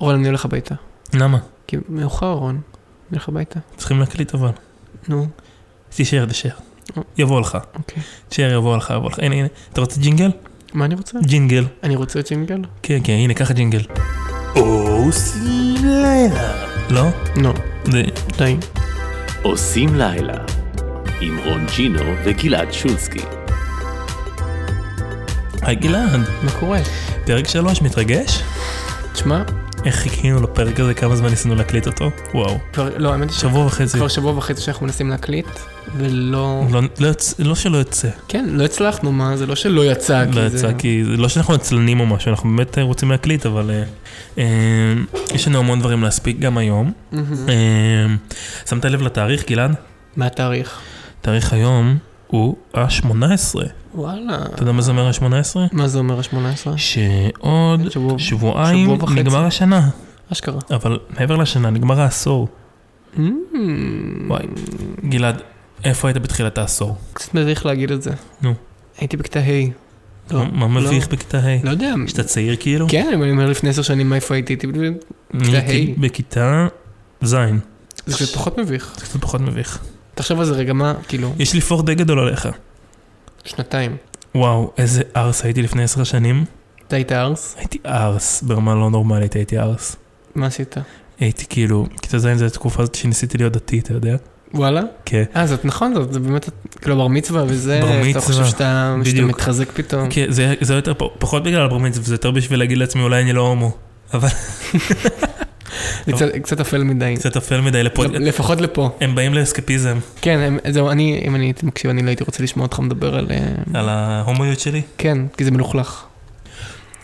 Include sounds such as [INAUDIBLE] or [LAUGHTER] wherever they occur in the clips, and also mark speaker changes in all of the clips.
Speaker 1: רון, אני הולך הביתה.
Speaker 2: למה?
Speaker 1: כי מאוחר, רון. אני הולך הביתה.
Speaker 2: צריכים להקליט אבל.
Speaker 1: נו,
Speaker 2: תישאר, תישאר.
Speaker 1: אה.
Speaker 2: יבוא לך.
Speaker 1: אוקיי.
Speaker 2: תישאר, יבוא לך, יבוא לך. הנה, הנה. אתה רוצה ג'ינגל?
Speaker 1: מה אני רוצה?
Speaker 2: ג'ינגל.
Speaker 1: אני רוצה ג'ינגל?
Speaker 2: כן, כן, הנה, ככה ג'ינגל.
Speaker 3: עושים לילה.
Speaker 2: לא?
Speaker 1: לא,
Speaker 2: זה...
Speaker 1: די.
Speaker 3: עושים לילה. עם רון ג'ינו וגלעד שולסקי.
Speaker 2: היי גלעד,
Speaker 1: מה קורה?
Speaker 2: פרק שלוש מתרגש?
Speaker 1: תשמע,
Speaker 2: איך חיכינו לפרק הזה, כמה זמן ניסינו להקליט אותו? וואו.
Speaker 1: כבר, לא, האמת היא
Speaker 2: שבוע וחצי.
Speaker 1: שכבר שבוע וחצי שאנחנו מנסים להקליט, ולא...
Speaker 2: לא, לא, יוצא, לא שלא יוצא,
Speaker 1: כן, לא הצלחנו, מה? זה לא שלא יצא, כי
Speaker 2: לא
Speaker 1: זה...
Speaker 2: יצא, כי זה לא שאנחנו עצלנים או משהו, אנחנו באמת אה, רוצים להקליט, אבל אה, אה, יש לנו המון דברים להספיק גם היום.
Speaker 1: מהמם.
Speaker 2: אה, שמת לב לתאריך, גלעד?
Speaker 1: מה התאריך?
Speaker 2: תאריך היום הוא ה-18.
Speaker 1: וואלה.
Speaker 2: אתה יודע מה זה אומר ה-18?
Speaker 1: מה זה אומר ה-18?
Speaker 2: שעוד
Speaker 1: שבוע-
Speaker 2: שבועיים
Speaker 1: שבוע וחצי.
Speaker 2: נגמר השנה.
Speaker 1: אשכרה.
Speaker 2: אבל מעבר לשנה, נגמר העשור.
Speaker 1: מהמם.
Speaker 2: וואי. גלעד, איפה היית בתחילת העשור?
Speaker 1: קצת מביך להגיד את זה.
Speaker 2: נו. אה,
Speaker 1: הייתי בכיתה ה'. לא,
Speaker 2: מה- מה
Speaker 1: לא.
Speaker 2: מביך בכיתה ה'?
Speaker 1: לא יודע.
Speaker 2: שאתה צעיר כאילו?
Speaker 1: כן, אם אני אומר לפני עשר שנים איפה הייתי, הייתי ב-
Speaker 2: אני הייתי
Speaker 1: ה'.
Speaker 2: בכיתה ז', זה
Speaker 1: זה קצת פחות מביך.
Speaker 2: קצת פחות מביך.
Speaker 1: תחשוב על זה רגע, מה, כאילו,
Speaker 2: יש לי פור די גדול עליך.
Speaker 1: שנתיים.
Speaker 2: וואו, איזה ארס הייתי לפני עשר שנים.
Speaker 1: אתה היית ארס?
Speaker 2: הייתי ארס, ברמה לא נורמלית הייתי ארס.
Speaker 1: מה עשית? הייתי.
Speaker 2: הייתי כאילו, כיתה ז' זו התקופה הזאת שניסיתי להיות דתי, אתה יודע?
Speaker 1: וואלה?
Speaker 2: כן.
Speaker 1: אה, זאת נכון, זאת זה באמת, כאילו בר מצווה וזה,
Speaker 2: בר
Speaker 1: אתה
Speaker 2: מצווה,
Speaker 1: חושב שאתה שאתה
Speaker 2: בדיוק.
Speaker 1: מתחזק פתאום.
Speaker 2: כן, זה, זה יותר, פחות בגלל הבר מצווה, זה יותר בשביל להגיד לעצמי אולי אני לא הומו.
Speaker 1: זה קצת- קצת אפל מדי.
Speaker 2: קצת אפל מדי לפוד...
Speaker 1: לפ- לפחות לפה.
Speaker 2: הם באים לאסקפיזם
Speaker 1: כן, הם- זהו, אני, אם אני הייתי מקשיב, אני לא הייתי רוצה לשמוע אותך מדבר על... אה,
Speaker 2: על ההומואיות שלי.
Speaker 1: כן, כי זה מלוכלך.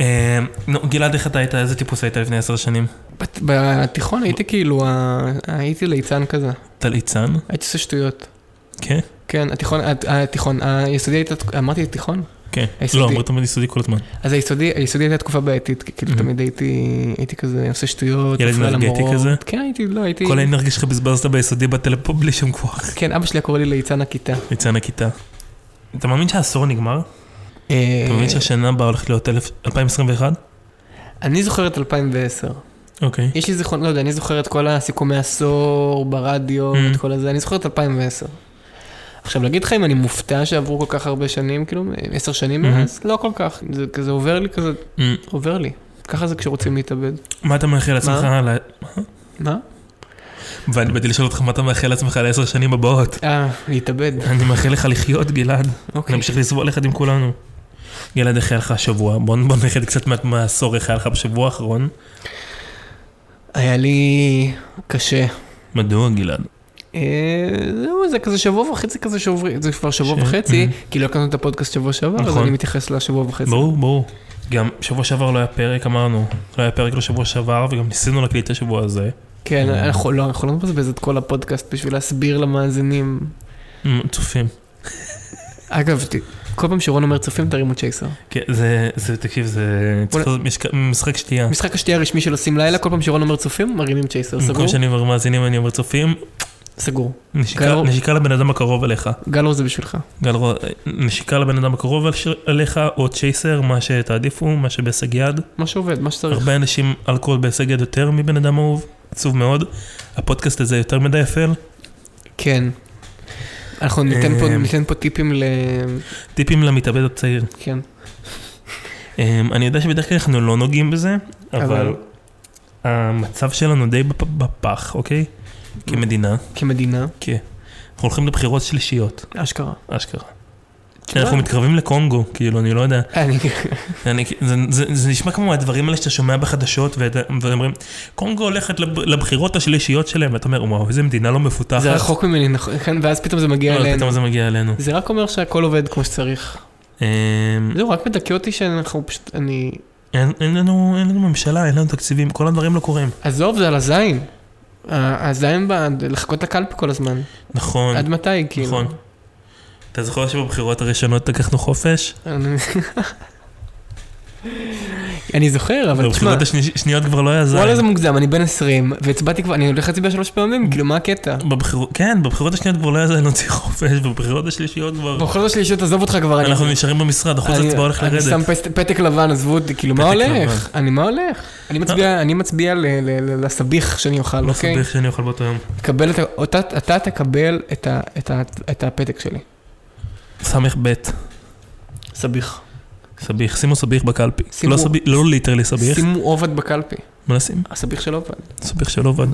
Speaker 2: אה, נו, גלעד, איך אתה היית, איזה טיפוס היית לפני עשר שנים?
Speaker 1: בת- בתיכון הייתי כאילו, ה- הייתי ליצן כזה.
Speaker 2: תלעיצן?
Speaker 1: הייתי עושה שטויות.
Speaker 2: כן?
Speaker 1: כן, התיכון, הת- התיכון, היסודי הייתה, תק- אמרתי תיכון?
Speaker 2: כן.
Speaker 1: היסודי.
Speaker 2: לא, אמרו תמיד יסודי כל הזמן.
Speaker 1: אז היסודי, היסודי הייתה תקופה בעייתית, כי כאילו
Speaker 2: Mhm.
Speaker 1: תמיד הייתי, הייתי כזה עושה שטויות,
Speaker 2: ילד
Speaker 1: מפריע
Speaker 2: אנרגטי
Speaker 1: למורות.
Speaker 2: כזה?
Speaker 1: כן, הייתי, לא, הייתי,
Speaker 2: כל האנרגיה שלך בזבזת ביסודי בטלפון בלי שום כוח.
Speaker 1: כן, אבא שלי היה קורא לי ליצן הכיתה.
Speaker 2: ליצן הכיתה. אתה מאמין שהעשור נגמר?
Speaker 1: אה,
Speaker 2: אתה מאמין שהשנה הבאה הולכת להיות אלף- 2021?
Speaker 1: אני זוכר את 2010.
Speaker 2: אוקיי.
Speaker 1: יש לי זיכרון, לא יודע, אני זוכר את כל הסיכומי עשור, ברדיו,
Speaker 2: Mhm.
Speaker 1: את כל הזה, אני זוכר את 2010. עכשיו, להגיד לך אם אני מופתע שעברו כל כך הרבה שנים, כאילו, עשר שנים
Speaker 2: Mhm.
Speaker 1: מאז? לא כל כך, זה כזה עובר לי, כזה
Speaker 2: אמ,
Speaker 1: עובר לי. ככה זה כשרוצים להתאבד.
Speaker 2: מה אתה מאחל לעצמך?
Speaker 1: מה?
Speaker 2: ל-
Speaker 1: מה?
Speaker 2: ואני באתי לשאול אותך מה אתה מאחל לעצמך לעשר שנים הבאות.
Speaker 1: אה, להתאבד,
Speaker 2: אני מאחל לך לחיות, גלעד.
Speaker 1: אוקיי.
Speaker 2: נמשיך לסבול יחד עם כולנו. גלעד, איך היה לך השבוע? בוא בוא נלכת קצת מה- מהעשור, איך היה לך בשבוע האחרון?
Speaker 1: היה לי קשה.
Speaker 2: מדוע, גלעד?
Speaker 1: אה, זהו, זה כזה שבוע וחצי כזה שעוברים, זה כבר שבוע
Speaker 2: ש-
Speaker 1: וחצי,
Speaker 2: Mhm.
Speaker 1: כי לא הקמנו את הפודקאסט שבוע שעבר, אז
Speaker 2: נכון.
Speaker 1: אני מתייחס לשבוע וחצי.
Speaker 2: ברור, ברור. גם שבוע שעבר לא היה פרק, אמרנו. לא היה פרק לשבוע שעבר, וגם ניסינו להקליט את השבוע הזה.
Speaker 1: כן, אנחנו לא אנחנו לא נבזבז את כל הפודקאסט בשביל להסביר למאזינים.
Speaker 2: אמ, צופים.
Speaker 1: אגב, ת- כל פעם שרון אומר צופים, תרימו צ'ייסר.
Speaker 2: כן, זה, זה, תקשיב, זה צריך לעשות משק- משחק שתייה.
Speaker 1: משחק השתייה הרשמי של עושים לילה, כל פעם שרון אומר צופים, מרימים צ'ייסר. סגור?
Speaker 2: במקום שאני אומר מאזינים, אני אומר צופים.
Speaker 1: סגור.
Speaker 2: נשיקה-
Speaker 1: גל רול.
Speaker 2: נשיקה לבן אדם הקרוב אליך.
Speaker 1: גלו זה בשבילך.
Speaker 2: גל רול, נשיקה לבן אדם הקרוב אליך, או צ'ייסר, מה שתעדיפו, מה שבהישג יד.
Speaker 1: מה שעובד, מה שצריך.
Speaker 2: הרבה אנשים אלכוהול בהישג יד יותר מבן אדם אהוב, עצוב מאוד. הפודקאסט הזה יותר מדי אפל.
Speaker 1: כן. אנחנו ניתן פה-
Speaker 2: אה,
Speaker 1: ניתן פה טיפים ל...
Speaker 2: טיפים למתאבד הצעיר.
Speaker 1: כן.
Speaker 2: אמ, אני יודע שבדרך כלל אנחנו לא נוגעים בזה, אבל
Speaker 1: אבל-
Speaker 2: המצב שלנו די בפ- בפח, אוקיי? כמדינה.
Speaker 1: כמדינה,
Speaker 2: כן. אנחנו הולכים לבחירות שלישיות,
Speaker 1: אשכרה.
Speaker 2: אשכרה.
Speaker 1: כן.
Speaker 2: אנחנו מתקרבים לקונגו, כאילו, אני לא יודע.
Speaker 1: אה, אני-
Speaker 2: אני, זה, זה, זה נשמע כמו מהדברים האלה שאתה שומע בחדשות, ואתה- ואומרים, קונגו הולכת לב, לבחירות השלישיות שלהם, ואתה אומר, וואו, איזה מדינה לא מפותחת.
Speaker 1: זה רחוק ממני, נכון? כן, ואז פתאום זה מגיע
Speaker 2: אבל
Speaker 1: אלינו.
Speaker 2: לא, פתאום זה מגיע אלינו.
Speaker 1: זה רק אומר שהכל עובד כמו שצריך.
Speaker 2: אמ,
Speaker 1: זהו, רק מדכא אותי שאנחנו פשוט, אני...
Speaker 2: אין, אין, לנו, אין לנו ממשלה, אין לנו תקציבים, כל הדברים לא קורים.
Speaker 1: עזוב, זה על הזין. ה- הזין ב- לחכות לקלפי כל הזמן.
Speaker 2: נכון,
Speaker 1: עד מתי, כאילו?
Speaker 2: נכון. אתה זוכר שבבחירות הראשונות לקחנו חופש?
Speaker 1: אני- אני זוכר, אבל תשמע,
Speaker 2: בבחירות השניות כבר לא היה זין.
Speaker 1: וואלה זה מוגזם, אני בן 20, והצבעתי כבר, אני הולך להצביע שלוש פעמים,
Speaker 2: Mm.
Speaker 1: כאילו מה הקטע?
Speaker 2: בבחירות, כן, בבחירות השניות כבר לא היה זין להוציא חופש, בבחירות השלישיות כבר...
Speaker 1: בוחר השלישי תעזוב אותך כבר, אני...
Speaker 2: אנחנו נשארים במשרד, אחוז
Speaker 1: אני-
Speaker 2: הצבעה הולך
Speaker 1: אני שם
Speaker 2: לרדת.
Speaker 1: פס- פתק לבן, עזבו אותי, כאילו מה
Speaker 2: פתק
Speaker 1: הולך? אני מה הולך? אני מצביע- אני מצביע ל- ל- ל- לסביך שאני אוכל,
Speaker 2: לא
Speaker 1: אוקיי?
Speaker 2: סביך שאני אוכל באותו יום.
Speaker 1: תקבל את ה- אותה- אתה תקבל את ה- את ה- את הפתק שלי.
Speaker 2: סמך ב',
Speaker 1: סביך.
Speaker 2: סביך, שימו סביך בקלפי.
Speaker 1: שימו-
Speaker 2: לא סביך, לא ליטרלי סביך.
Speaker 1: שימו עובד בקלפי.
Speaker 2: מה לשים?
Speaker 1: הסביך של עובד.
Speaker 2: סביך שלא עובד.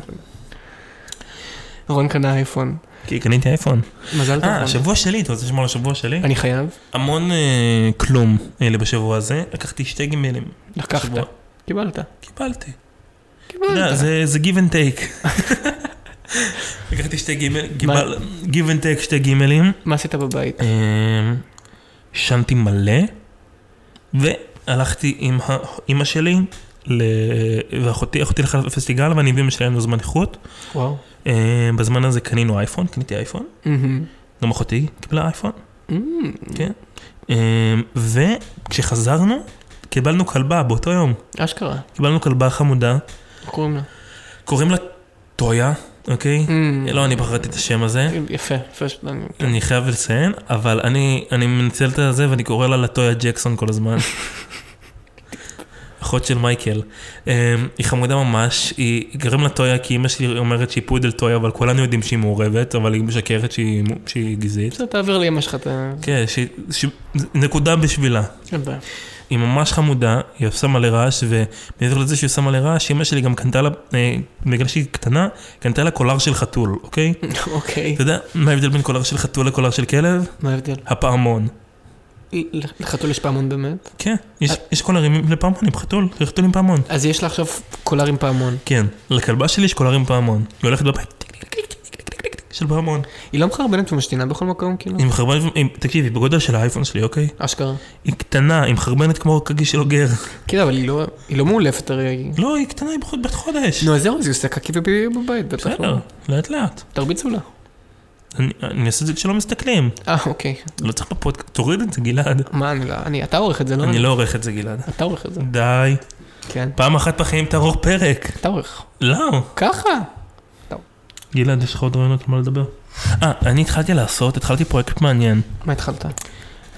Speaker 1: רון קנה אייפון.
Speaker 2: כי קניתי אייפון.
Speaker 1: מזל לא טוב.
Speaker 2: אה,
Speaker 1: רון.
Speaker 2: השבוע שלי, אתה רוצה לשמוע על השבוע שלי?
Speaker 1: אני חייב.
Speaker 2: המון אה, כלום היה לי בשבוע הזה, לקחתי שתי גימלים.
Speaker 1: לקחת.
Speaker 2: בשבוע.
Speaker 1: קיבלת.
Speaker 2: קיבלתי. אתה יודע,
Speaker 1: קיבלת.
Speaker 2: זה זה give and take. [LAUGHS] לקחתי שתי גימל, גיבל- give and take שתי גימלים,
Speaker 1: מה עשית בבית?
Speaker 2: אה, שנתי מלא, והלכתי עם אימא שלי, ל- ואחותי, אחותי הלכה לפסטיגל, ואני ואימא שלי היינו זמן איכות.
Speaker 1: וואו.
Speaker 2: אה, בזמן הזה קנינו אייפון, קניתי אייפון,
Speaker 1: מהמם.
Speaker 2: גם אחותי קיבלה אייפון.
Speaker 1: מהמם.
Speaker 2: אה, וכשחזרנו, קיבלנו כלבה באותו יום.
Speaker 1: אשכרה.
Speaker 2: קיבלנו כלבה חמודה,
Speaker 1: איך קוראים לה?
Speaker 2: קוראים לה טויה, אוקיי?
Speaker 1: מהמם.
Speaker 2: לא, אני בחרתי את השם הזה.
Speaker 1: יפה. יפה ש- אני-
Speaker 2: אני חייב לציין, אבל אני, אני מנצל את הזה ואני קורא לה לטויה ג'קסון כל הזמן. אחות של מייקל. אמ, היא חמודה ממש, היא קוראים לה טויה כי אימא שלי אומרת שהיא פודל טויה, אבל כולנו יודעים שהיא מעורבת, אבל היא משקרת שהיא, שהיא גזעית.
Speaker 1: בסדר, תעביר לאמא שלך את ה...
Speaker 2: כן, ש, ש, נקודה בשבילה.
Speaker 1: אין בעיה. [LAUGHS]
Speaker 2: היא ממש חמודה, היא עושה מלא רעש, ומעבר לזה שהיא עושה מלא רעש, אמא שלי גם קנתה לה, אה, בגלל שהיא קטנה, קנתה לה קולר של חתול, אוקיי?
Speaker 1: אוקיי.
Speaker 2: אתה יודע מה ההבדל בין קולר של חתול לקולר של כלב?
Speaker 1: מה ההבדל?
Speaker 2: הפעמון.
Speaker 1: ל- לחתול יש פעמון באמת?
Speaker 2: כן, יש, יש קולרים לפעמון עם חתול, חתול עם פעמון.
Speaker 1: אז יש לה עכשיו קולר עם פעמון.
Speaker 2: כן, לכלבה שלי יש קולר עם פעמון. היא הולכת בבית, טיק, טיק, טיק, טיק, טיק, טיק, טיק, של פעמון.
Speaker 1: היא לא מחרבנת ומשתינה בכל מקום, כאילו?
Speaker 2: היא מחרבנת, היא- תקשיבי, בגודל של האייפון שלי, אוקיי?
Speaker 1: אשכרה.
Speaker 2: היא קטנה, היא מחרבנת כמו קגי של אוגר.
Speaker 1: כן, אבל היא לא- היא לא מאולפת הרי.
Speaker 2: לא, היא קטנה, היא בחוד- בת חודש.
Speaker 1: נו, אז זהו, אז היא עושה קקי וביבי בבית, בטח
Speaker 2: בסדר,
Speaker 1: לא.
Speaker 2: לאט לאט.
Speaker 1: תרביצו לה.
Speaker 2: אני- אני אעשה את זה כשלא מסתכלים.
Speaker 1: אה, אוקיי.
Speaker 2: לא צריך בפודקאסט, תוריד את זה גלעד.
Speaker 1: מה, אני לא... אני- אתה עורך את זה, לא?
Speaker 2: אני לא עורך את זה גלעד.
Speaker 1: אתה עורך את זה.
Speaker 2: די.
Speaker 1: כן.
Speaker 2: פעם אחת בחיים תערוך פרק.
Speaker 1: אתה עורך.
Speaker 2: לא.
Speaker 1: ככה.
Speaker 2: גלעד, יש לך עוד רעיונות על מה לדבר? אה, אני התחלתי לעשות, התחלתי פרויקט מעניין.
Speaker 1: מה התחלת?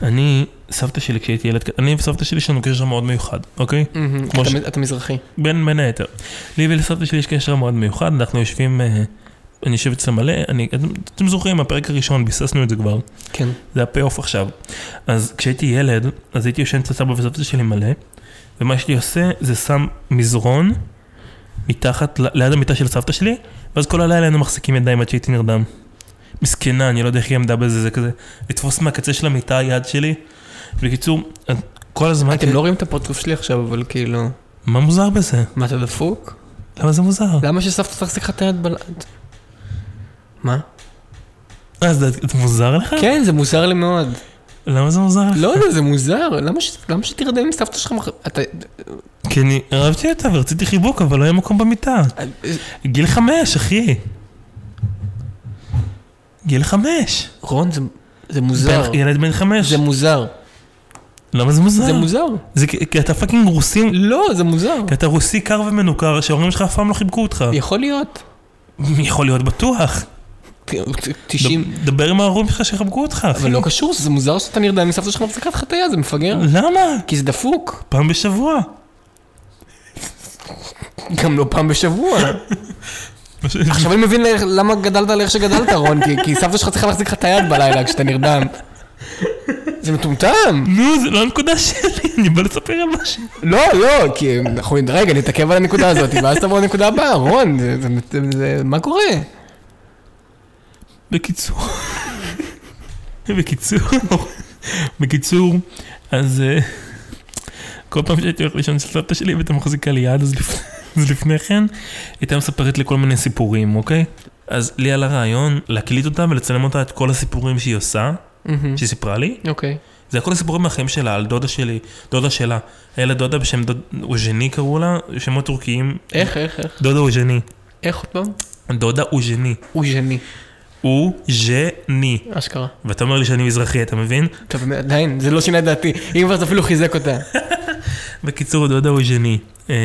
Speaker 2: אני, סבתא שלי כשהייתי ילד, קט- אני וסבתא שלי יש לנו קשר מאוד מיוחד, אוקיי?
Speaker 1: מהמם.
Speaker 2: כמו
Speaker 1: אתה- אתה מזרחי.
Speaker 2: בין, בין היתר. לי ולסבתא שלי יש קשר מאוד מיוחד, אנחנו יושבים, אה, אני יושב אצלה מלא, אני, אתם, אתם זוכרים, הפרק הראשון, ביססנו את זה כבר,
Speaker 1: כן.
Speaker 2: זה הפי-אוף עכשיו. אז כשהייתי ילד, אז הייתי יושן אצל סבא וסבתא שלי מלא, ומה שאני עושה זה שם מזרון מתחת, ל- ליד המיטה של סבתא שלי, ואז כל הלילה היינו מחזיקים ידיים עד שהייתי נרדם. מסכנה, אני לא יודע איך היא עמדה בזה, זה כזה, לתפוס מהקצה של המיטה יד שלי. בקיצור, כל הזמן...
Speaker 1: אתם לא רואים את הפרצוף שלי עכשיו, אבל כאילו...
Speaker 2: מה מוזר בזה?
Speaker 1: מה, אתה דפוק?
Speaker 2: אה. למה זה מוזר?
Speaker 1: למה שסבתא תחזיק לך את היד בלעד? מה?
Speaker 2: אה, זה זה מוזר לך?
Speaker 1: כן, זה מוזר לי מאוד.
Speaker 2: למה זה מוזר לך?
Speaker 1: לא יודע, זה מוזר. למה ש- למה שתרדם עם סבתא שלך מחר? אתה...
Speaker 2: כי אני אהבתי אותה ורציתי חיבוק, אבל לא היה מקום במיטה. גיל חמש, אחי. גיל חמש.
Speaker 1: רון, זה- זה מוזר.
Speaker 2: בן- ילד בן חמש.
Speaker 1: זה מוזר.
Speaker 2: למה זה מוזר?
Speaker 1: זה מוזר.
Speaker 2: זה כי כי אתה פאקינג רוסים,
Speaker 1: לא, זה מוזר.
Speaker 2: כי אתה רוסי קר ומנוכר, שההורים שלך אף פעם לא חיבקו אותך.
Speaker 1: יכול להיות.
Speaker 2: יכול להיות בטוח.
Speaker 1: ת- 90...
Speaker 2: ד- דבר עם ההורים שלך שיחבקו אותך, אחי.
Speaker 1: לא, אבל לא קשור, זה מוזר שאתה נרדם עם סבתא שלך מחזיקה לך את היד, זה מפגר.
Speaker 2: למה?
Speaker 1: כי זה דפוק.
Speaker 2: פעם בשבוע.
Speaker 1: גם לא פעם בשבוע. עכשיו אני מבין איך- למה גדלת על איך שגדלת, רון, כי- כי סבתא שלך צריכה להחזיק לך את היד בלילה כשאתה נרדם. זה מטומטם.
Speaker 2: נו, זה לא הנקודה שלי, אני בא לספר על משהו.
Speaker 1: לא, לא, כי אנחנו, רגע, נתעכב על הנקודה הזאת, ואז תבוא לנקודה הבאה, רון, זה- זה- זה- זה- מה קורה?
Speaker 2: בקיצור. בקיצור. בקיצור, אז אה, כל פעם שהייתי הולך לישון אצל סבתא שלי והייתה מחזיקה לי יד, אז לפ- אז לפני כן, הייתה מספרת לי כל מיני סיפורים, אוקיי? אז לי עלה רעיון להקליט אותה ולצלם אותה את כל הסיפורים שהיא עושה,
Speaker 1: מהמם.
Speaker 2: שהיא סיפרה לי.
Speaker 1: אוקיי.
Speaker 2: זה הכל סיפורים מהחיים שלה, על דודה שלי, דודה שלה. היה לה דודה בשם דוד... אוז'ני קראו לה, שמות טורקיים.
Speaker 1: איך, איך, איך?
Speaker 2: דודה אוז'ני.
Speaker 1: איך עוד פעם?
Speaker 2: דודה אוז'ני.
Speaker 1: הוא ז'ני,
Speaker 2: אוז'ני.
Speaker 1: אשכרה.
Speaker 2: ואתה אומר לי שאני מזרחי, אתה מבין?
Speaker 1: טוב, עדיין, זה לא שינה את דעתי, אם כבר זה אפילו חיזק אותה.
Speaker 2: בקיצור, דודה הוא ז'ני. אה,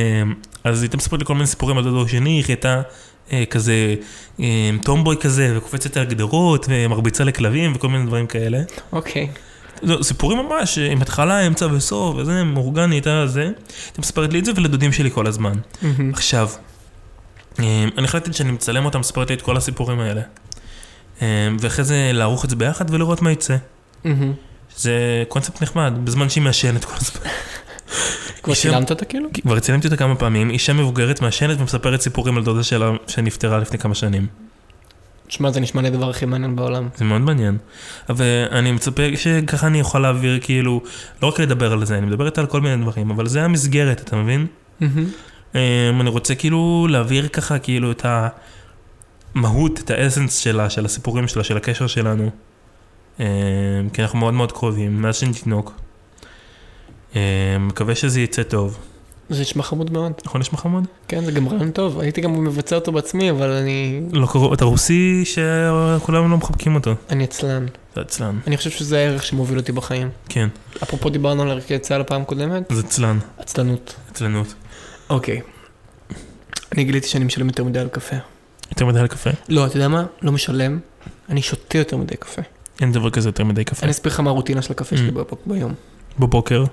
Speaker 2: אז הייתה מספרת לי כל מיני סיפורים על דודה הוא ז'ני, איך היא הייתה אה, כזה אה, טומבוי כזה, וקופצת על גדרות, ומרביצה לכלבים, וכל מיני דברים כאלה.
Speaker 1: אוקיי.
Speaker 2: לא, סיפורים ממש, עם התחלה, אמצע וסוף, וזה, מאורגן, היא הייתה זה. הייתה מספרת לי את זה ולדודים שלי כל הזמן. עכשיו, אה, אני החלטתי שאני מצלם אותה, מספרת לי את כל הסיפורים האלה. אה, ואחרי זה לערוך את זה ביחד ולראות מה יצא.
Speaker 1: מהמם.
Speaker 2: זה קונספט נחמד, בזמן שהיא מעשנת כל הזמן.
Speaker 1: כבר
Speaker 2: אישה-
Speaker 1: צילמת אותה כאילו?
Speaker 2: כבר צילמתי אותה כמה פעמים, אישה מבוגרת מעשנת ומספרת סיפורים על דודה שלה שנפטרה לפני כמה שנים.
Speaker 1: תשמע, זה נשמע לי הדבר הכי מעניין בעולם.
Speaker 2: זה מאוד מעניין. ואני מצפה שככה אני אוכל להעביר, כאילו, לא רק לדבר על זה, אני מדבר איתה על כל מיני דברים, אבל זה המסגרת, אתה מבין?
Speaker 1: מהמם.
Speaker 2: אמ, אני רוצה כאילו להעביר ככה, כאילו, את המהות, את האסנס שלה, של הסיפורים שלה, של הקשר שלנו. אמ, כי אנחנו מאוד מאוד קרובים, מאז שאני תינוק. אמ, מקווה שזה יצא טוב.
Speaker 1: זה נשמע חמוד מאוד.
Speaker 2: נכון, נשמע חמוד?
Speaker 1: כן, זה גם רעיון טוב. הייתי גם מבצע אותו בעצמי, אבל אני...
Speaker 2: לא קרוב, אתה רוסי שכולם לא מחבקים אותו.
Speaker 1: אני עצלן.
Speaker 2: זה עצלן.
Speaker 1: אני חושב שזה הערך שמוביל אותי בחיים.
Speaker 2: כן,
Speaker 1: אפרופו דיברנו על ערכי צה"ל הפעם הקודמת,
Speaker 2: זה עצלן.
Speaker 1: עצלנות.
Speaker 2: עצלנות.
Speaker 1: אוקיי. אני גיליתי שאני משלם יותר מדי על קפה.
Speaker 2: יותר מדי על קפה?
Speaker 1: לא, אתה יודע מה? לא משלם. אני שותה יותר מדי קפה.
Speaker 2: אין דבר כזה יותר מדי קפה.
Speaker 1: אני אסביר לך מה הרוטינה של הקפה שלי
Speaker 2: Mm.
Speaker 1: בב- ביום.
Speaker 2: בבוקר,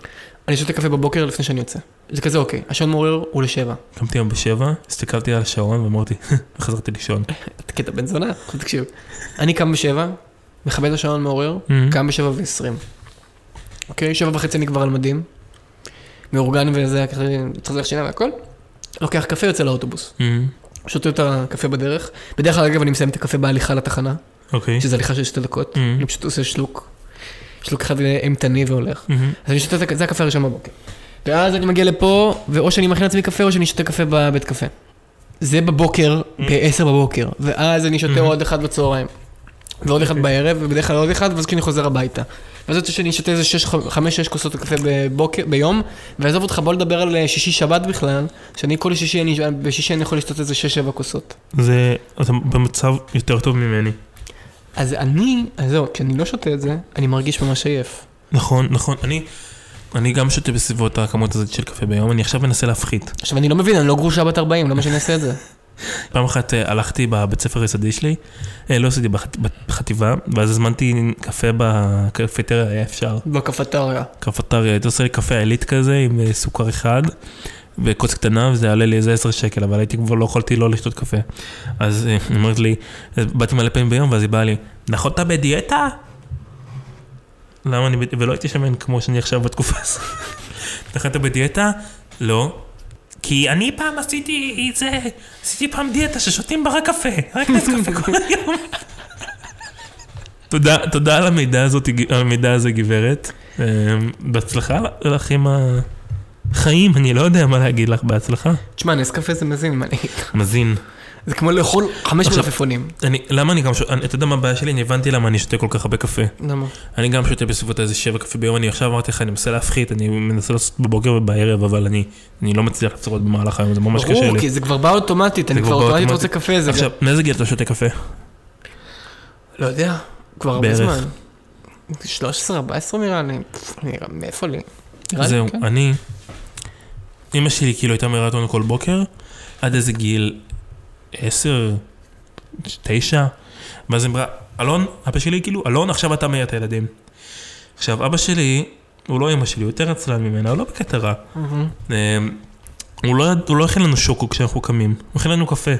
Speaker 1: אני שותה קפה בבוקר לפני שאני יוצא. זה כזה אוקיי, השעון מעורר הוא לשבע.
Speaker 2: קמתי היום בשבע, הסתכלתי על השעון ואמרתי, [LAUGHS] וחזרתי לישון.
Speaker 1: אתה קטע בן זונה, עכשיו תקשיב. אני קם בשבע, מכבד את השעון מעורר,
Speaker 2: Hmm? Mm-hmm.
Speaker 1: קם בשבע ועשרים. אוקיי? שבע וחצי אני כבר על מדים. מאורגן וזה, ככה, צריך שיניים והכל. לוקח קפה, יוצא לאוטובוס.
Speaker 2: אמ,
Speaker 1: שותה את הקפה בדרך. בדרך כלל, אגב, אני מסיים את הקפה בהליכה לתחנה,
Speaker 2: אוקיי.
Speaker 1: שזה הליכה של שתי דקות.
Speaker 2: אמ,
Speaker 1: אני פשוט עושה שלוק. שלוק אחד אימתני והולך.
Speaker 2: אמ,
Speaker 1: אז אני שותה, את הק- זה הקפה הראשון בבוקר. ואז אני מגיע לפה, ואו שאני מכין לעצמי קפה, או שאני שותה קפה בבית קפה. זה בבוקר, ב-10 בבוקר, ואז אני שותה
Speaker 2: Mhm.
Speaker 1: עוד אחד בצהריים. ועוד אחד בערב, ובדרך כלל עוד אחד, ואז כשאני חוזר הביתה. ואז יוצא שאני שותה איזה 5-6 כוסות קפה בבוקר, ביום, ועזוב אותך, בוא לדבר על אה, שישי-שבת בכלל, שאני כל שישי, אני, בשישי אני יכול לשתות איזה 6-7 כוסות.
Speaker 2: זה, אתה במצב יותר טוב ממני.
Speaker 1: אז אני, אז זהו, כשאני לא שותה את זה, אני מרגיש ממש עייף.
Speaker 2: נכון, נכון, אני... אני גם שותה בסביבות הכמות הזאת של קפה ביום, אני עכשיו מנסה להפחית.
Speaker 1: עכשיו, אני לא מבין, אני לא גרושה בת 40, למה שאני אעשה את זה?
Speaker 2: פעם אחת אה, הלכתי בבית ספר היסודי שלי, אה, לא עשיתי בחט- בחטיבה, ואז הזמנתי קפה בקפטריה, היה אפשר.
Speaker 1: בקפטריה.
Speaker 2: קפטריה, הייתי עושה לי קפה עילית כזה עם אה, סוכר אחד וכוס קטנה, וזה יעלה לי איזה 10 שקל, אבל הייתי כבר לא יכולתי לא לשתות קפה. אז אה, היא אומרת לי, אז באתי מלא פעמים ביום, ואז היא באה לי, נכון אתה בדיאטה? למה אני, בד- ולא הייתי שמן כמו שאני עכשיו בתקופה הזאת. נכון אתה בדיאטה? לא. כי אני פעם עשיתי את זה, עשיתי פעם דיאטה ששותים בה רק קפה, רק נס קפה כל היום. תודה, תודה על המידע, הזאת, על המידע הזה, גברת. אה, בהצלחה לך עם החיים, אני לא יודע מה להגיד לך, בהצלחה.
Speaker 1: תשמע, נס קפה זה מזין, מה אני אגיד לך?
Speaker 2: מזין.
Speaker 1: זה כמו לאכול חמש
Speaker 2: עכשיו-
Speaker 1: מלפפונים.
Speaker 2: אני, למה אני גם שותה, אתה יודע מה הבעיה שלי? אני הבנתי למה אני שותה כל כך הרבה קפה.
Speaker 1: למה?
Speaker 2: אני גם שותה בסביבות איזה שבע קפה ביום, אני עכשיו אמרתי לך, אני מנסה להפחית, אני מנסה לעשות בבוקר ובערב, אבל אני, אני לא מצליח לעשות במהלך היום, זה ממש קשה לי.
Speaker 1: ברור, כי זה כבר בא אוטומטית, אני
Speaker 2: כבר
Speaker 1: כבר
Speaker 2: בא
Speaker 1: אוטומטית
Speaker 2: אוטומטית.
Speaker 1: רוצה קפה, זה...
Speaker 2: עכשיו, מאיזה גיל אתה שותה קפה?
Speaker 1: לא יודע, כבר הרבה
Speaker 2: בערך.
Speaker 1: זמן. 13-14 נראה לי, פפ, נראה, מאיפה לי? נראה לי,
Speaker 2: זהו,
Speaker 1: כן.
Speaker 2: אני... אמא שלי כאילו הייתה מראה אותנו כל בוקר, עד איזה גיל? עשר? תשע? ואז היא אמרה, אלון, אבא שלי כאילו, אלון, עכשיו אתה מעיר את הילדים. עכשיו, אבא שלי, הוא לא אמא שלי, הוא יותר עצלן ממנה, הוא לא בקטע רע.
Speaker 1: מהמם.
Speaker 2: אה, הוא לא, הוא לא הכין לנו שוקו כשאנחנו קמים, הוא הכין לנו קפה.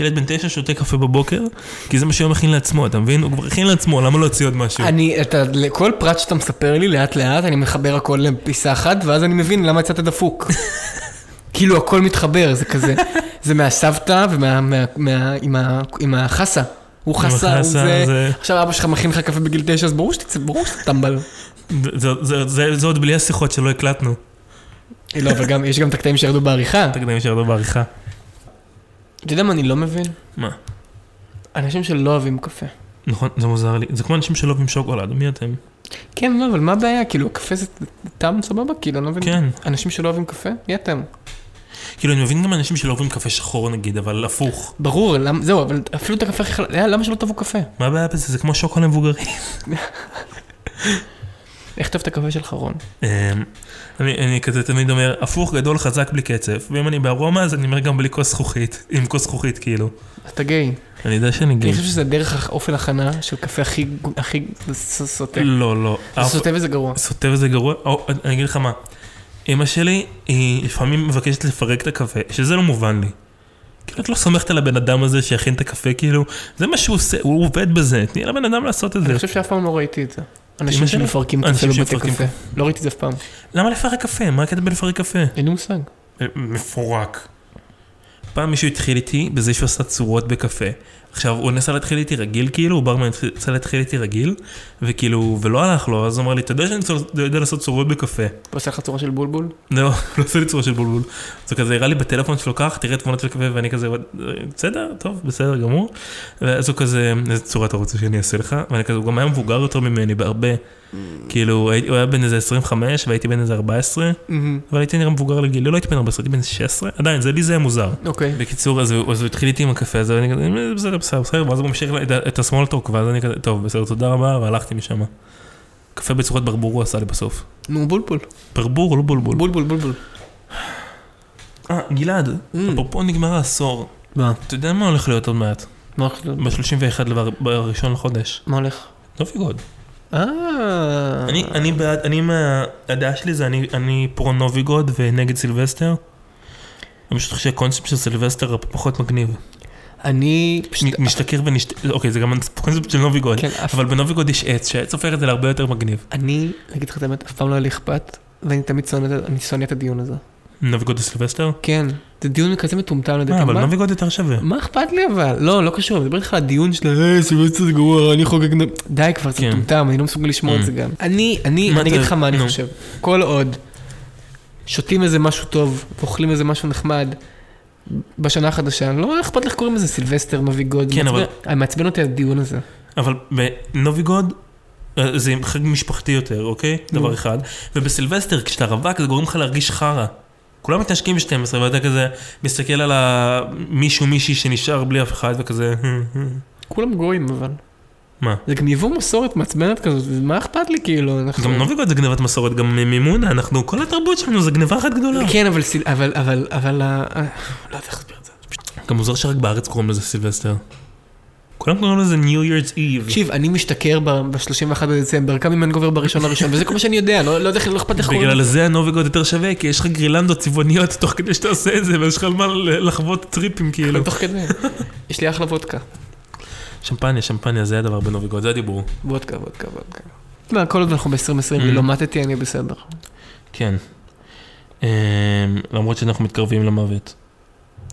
Speaker 2: ילד בן תשע שותה קפה בבוקר, כי זה מה שהוא מכין לעצמו, אתה מבין? הוא כבר הכין לעצמו, למה לא הוציא עוד משהו?
Speaker 1: אני, אתה, לכל פרט שאתה מספר לי, לאט לאט, אני מחבר הכל לפיסה אחת, ואז אני מבין למה יצאת
Speaker 2: [LAUGHS]
Speaker 1: דפוק. כאילו הכל מתחבר, זה כזה, זה מהסבתא ומה, מה, מה, עם, ה, עם החסה. הוא חסה, הוא
Speaker 2: החסה,
Speaker 1: זה...
Speaker 2: זה-
Speaker 1: עכשיו אבא שלך מכין לך קפה בגיל תשע, אז ברור שתצא, ברור שאתה טמבל.
Speaker 2: זה, זה, זה, זה עוד בלי השיחות שלא הקלטנו.
Speaker 1: לא, אבל גם, יש גם את הקטעים שירדו בעריכה.
Speaker 2: תקדים שירדו בעריכה.
Speaker 1: אתה יודע מה אני לא מבין?
Speaker 2: מה?
Speaker 1: אנשים שלא אוהבים קפה.
Speaker 2: נכון, זה מוזר לי. זה כמו אנשים שלא אוהבים שוקולד, מי אתם?
Speaker 1: כן, לא, אבל מה הבעיה? כאילו, קפה זה טעם סבבה? כאילו, אני לא מבין.
Speaker 2: כן.
Speaker 1: אנשים שלא אוהבים קפה? מי אתם?
Speaker 2: כאילו, אני מבין גם אנשים שלא אוהבים קפה שחור נגיד, אבל הפוך.
Speaker 1: ברור, למ... זהו, אבל אפילו את הקפה הכי חלק, למה שלא תבוא קפה?
Speaker 2: מה הבעיה בזה? זה כמו שוקולד מבוגרים.
Speaker 1: איך טוב את הקפה שלך, רון?
Speaker 2: אמ, אני, אני כזה תמיד אומר, הפוך גדול חזק בלי קצף, ואם אני בארומה אז אני אומר גם בלי כוס זכוכית, עם כוס זכוכית כאילו.
Speaker 1: אתה גיי.
Speaker 2: אני יודע שאני גיל.
Speaker 1: אני חושב שזה דרך אופן הכנה של קפה הכי גו- הכי ס- סוטה.
Speaker 2: לא, לא. אף-
Speaker 1: סוטה וזה גרוע.
Speaker 2: סוטה וזה גרוע. או, אני אגיד לך מה, אמא שלי, היא לפעמים מבקשת לפרק את הקפה, שזה לא מובן לי. כאילו, את לא סומכת על הבן אדם הזה שיכין את הקפה, כאילו, זה מה שהוא עושה, הוא עובד בזה, תני לבן אדם לעשות את זה.
Speaker 1: אני חושב שאף פעם לא ראיתי את זה.
Speaker 2: אמא
Speaker 1: אנשים
Speaker 2: שלי?
Speaker 1: שמפרקים קפה
Speaker 2: אנשים
Speaker 1: בבתי
Speaker 2: שמפרקים
Speaker 1: קפה. לא ראיתי את זה אף פעם.
Speaker 2: למה לפרק קפה? מה הקטע בלפרק קפה?
Speaker 1: אין לי מושג.
Speaker 2: מפורק. פעם מישהו התחיל איתי בזה שהוא עשה צורות בקפה. עכשיו, הוא ניסה להתחיל איתי רגיל, כאילו, הוא ברמן ניסה להתחיל איתי רגיל, וכאילו, ולא הלך לו, אז הוא אמר לי, אתה יודע שאני צור- יודע לעשות צורות בקפה.
Speaker 1: הוא עושה לך צורה של בולבול?
Speaker 2: לא, לא עושה לי צורה של בולבול. זה כזה הראה לי בטלפון שלו כך, תראה תמונות של קפה, ואני כזה, "אה, בסדר, טוב, בסדר גמור. ואז הוא כזה, איזה צורה אתה רוצה שאני אעשה לך? ואני כזה, הוא גם היה מבוגר יותר ממני בהרבה. כאילו, הייתי- הוא היה בן איזה 25 והייתי בן איזה 14. אבל הייתי נראה מבוגר לגילי, לא הייתי בן 14, הייתי בן 16, עדיין, זה לי זה היה מוזר.
Speaker 1: אוקיי.
Speaker 2: בקיצור, אז הוא אז הוא התחיל איתי עם הקפה הזה, ואני כזה, "אה, בסדר, בסדר, בסדר, ואז הוא ממשיך את ה- את ה-small talk, ואז אני כזה, טוב, בסדר, תודה רבה, והלכתי משם. קפה בצורת ברבור הוא עשה לי בסוף.
Speaker 1: נו, בולבול.
Speaker 2: ברבור, לא בולבול.
Speaker 1: בולבול, בולבול.
Speaker 2: אה, גלעד,
Speaker 1: Mm.
Speaker 2: אפרופו נגמר העשור,
Speaker 1: מה?
Speaker 2: אתה יודע מה הולך להיות עוד מעט?
Speaker 1: מה הולך להיות?
Speaker 2: ב-31 בראשון לחודש.
Speaker 1: מה הולך?
Speaker 2: נובי גוד.
Speaker 1: אה...
Speaker 2: אני אני בעד, אני מה... הדעה שלי זה אני- אני פרו נובי גוד ונגד סילבסטר. אני פשוט חושב שהקונספט של סילבסטר פחות מגניב.
Speaker 1: אני...
Speaker 2: מ- משתכר ונשת... אוקיי, זה גם הקונספט של נוביגוד.
Speaker 1: כן, אף-
Speaker 2: אבל בנוביגוד יש עץ, שהעץ הופך את זה להרבה יותר מגניב.
Speaker 1: אני, להגיד לך את האמת, אף פעם לא היה לי אכפת, ואני תמיד שונא את ה- אני שונא את הדיון הזה.
Speaker 2: נוביגוד וסילבסטר?
Speaker 1: כן, זה דיון כזה מטומטם לדעתי.
Speaker 2: אה, אבל
Speaker 1: מה-
Speaker 2: נוביגוד יותר שווה.
Speaker 1: מה אכפת לי אבל? לא, לא קשור, אני מדבר איתך על הדיון של אה, סילבסטר זה גרוע, אני חוגג... נ-". די כבר, זה
Speaker 2: כן. Mm.
Speaker 1: מטומטם, אני לא מסוגל לשמור את זה גם. אני, אני, אני
Speaker 2: מה אתה-
Speaker 1: אגיד לך מה אני
Speaker 2: נו.
Speaker 1: חושב. כל עוד שותים איזה משהו טוב, אוכלים איזה משהו נחמד, בשנה החדשה, לא אכפת לך קוראים לזה סילבסטר, מביא גוד.
Speaker 2: כן, אבל-
Speaker 1: מעצבן- אה, מעצבן אותי הדיון הזה.
Speaker 2: אבל בנוביגוד אה, זה חג משפחתי יותר, אוקיי? דבר אחד. ובסילבסטר, כשאתה רווק, זה גורם לך להרגיש חרא. כולם מתנשקים ב-12, ואתה כזה מסתכל על המישהו מישהי שנשאר בלי אף אחד, וכזה...
Speaker 1: כולם גויים אבל.
Speaker 2: מה?
Speaker 1: זה גם יבוא מסורת מעצבנת כזאת, זה- מה אכפת לי כאילו, אנחנו...
Speaker 2: גם נוביגוד זה גנבת מסורת, גם מימונה, אנחנו, כל התרבות שלנו זה גנבה אחת גדולה.
Speaker 1: כן, אבל, סיל- אבל, אבל, אבל, ה- אה, לא יודע איך להסביר את זה.
Speaker 2: גם מוזר שרק בארץ קוראים לזה סילבסטר. כולם קוראים לזה New Year's Eve.
Speaker 1: תקשיב, אני משתכר ב-31 בדצמבר, קם עם הנגובר בראשון לראשון, וזה כל מה שאני יודע, לא לא יודע, לא אכפת לך קוראים
Speaker 2: בגלל זה הנוביגוד יותר שווה, כי יש לך גרילנדות צבעוניות תוך כדי שאתה עושה את זה, ויש לך על מה ל- לחוות טריפים כאילו.
Speaker 1: לזה. נכון, תוך כדי. יש לי אחלה וודקה.
Speaker 2: שמפניה, שמפניה, זה הדבר בנוביגוד, זה הדיבור.
Speaker 1: וודקה, וודקה, וודקה. מה, כל עוד אנחנו
Speaker 2: Mm-hmm.
Speaker 1: ב-2020 ולא מתתי, אני בסדר.
Speaker 2: כן. אמ, למרות שאנחנו מתקרבים למוות.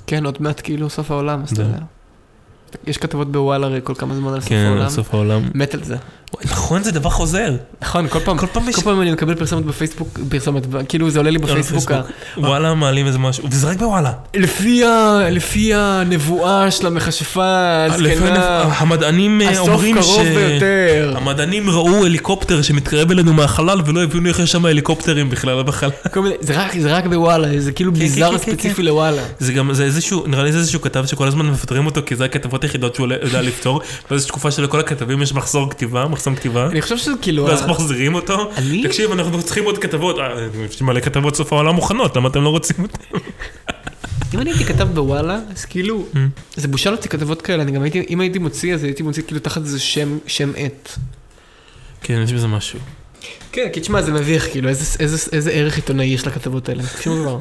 Speaker 1: כן, עוד מעט כאילו סוף העולם, אז אתה
Speaker 2: זה.
Speaker 1: יודע. יש כתבות בוואלה הרי כל כמה זמן על סוף
Speaker 2: כן,
Speaker 1: העולם.
Speaker 2: סוף העולם.
Speaker 1: מת על זה.
Speaker 2: וואי, נכון, זה דבר חוזר.
Speaker 1: נכון, כל פעם,
Speaker 2: כל פעם יש...
Speaker 1: כל פעם אני מקבל פרסומת בפייסבוק, פרסומת, כאילו זה עולה לי בפייסבוק, ה-
Speaker 2: וואלה, מעלים איזה משהו, וזה רק בוואלה.
Speaker 1: לפי ה- לפי הנבואה של המכשפה
Speaker 2: לפעמים
Speaker 1: הזקנה,
Speaker 2: המדענים אה,
Speaker 1: כן, הסוף
Speaker 2: אומרים ש...
Speaker 1: קרוב ביותר.
Speaker 2: המדענים ראו הליקופטר שמתקרב אלינו מהחלל ולא הבינו איך יש שם הליקופטרים בכלל בחלל.
Speaker 1: כל מיני- זה רק- זה רק בוואלה, זה כאילו ביזאר
Speaker 2: כן, כן,
Speaker 1: ספציפי לוואלה.
Speaker 2: זה גם, זה איזשהו, נראה לי זה איזשהו כתב שכל הזמן מפטרים אותו כי זה הכתבות היחידות שהוא לא יודע לפתור, [LAUGHS] ואז יש תקופה שלכל הכתבים יש מחסור כתיבה, מחסום כתיבה,
Speaker 1: אני חושב שזה כאילו...
Speaker 2: ואז
Speaker 1: ה-
Speaker 2: מחזירים אותו.
Speaker 1: אני?
Speaker 2: תקשיב, אנחנו צריכים עוד כתבות, "אה, יש מלא כתבות סוף העולם מוכנות, למה אתם לא רוצים אותן?
Speaker 1: אם אני הייתי כתב בוואלה, אז כאילו, זה בושה להוציא כתבות כאלה, אני גם הייתי, אם הייתי מוציא, אז הייתי מוציא כאילו תחת איזה שם, שם עט.
Speaker 2: כן, יש בזה משהו.
Speaker 1: כן, כי תשמע, זה מביך, כאילו, איזה, איזה, איזה ערך עיתונאי יש לכתבות האלה? שום דבר.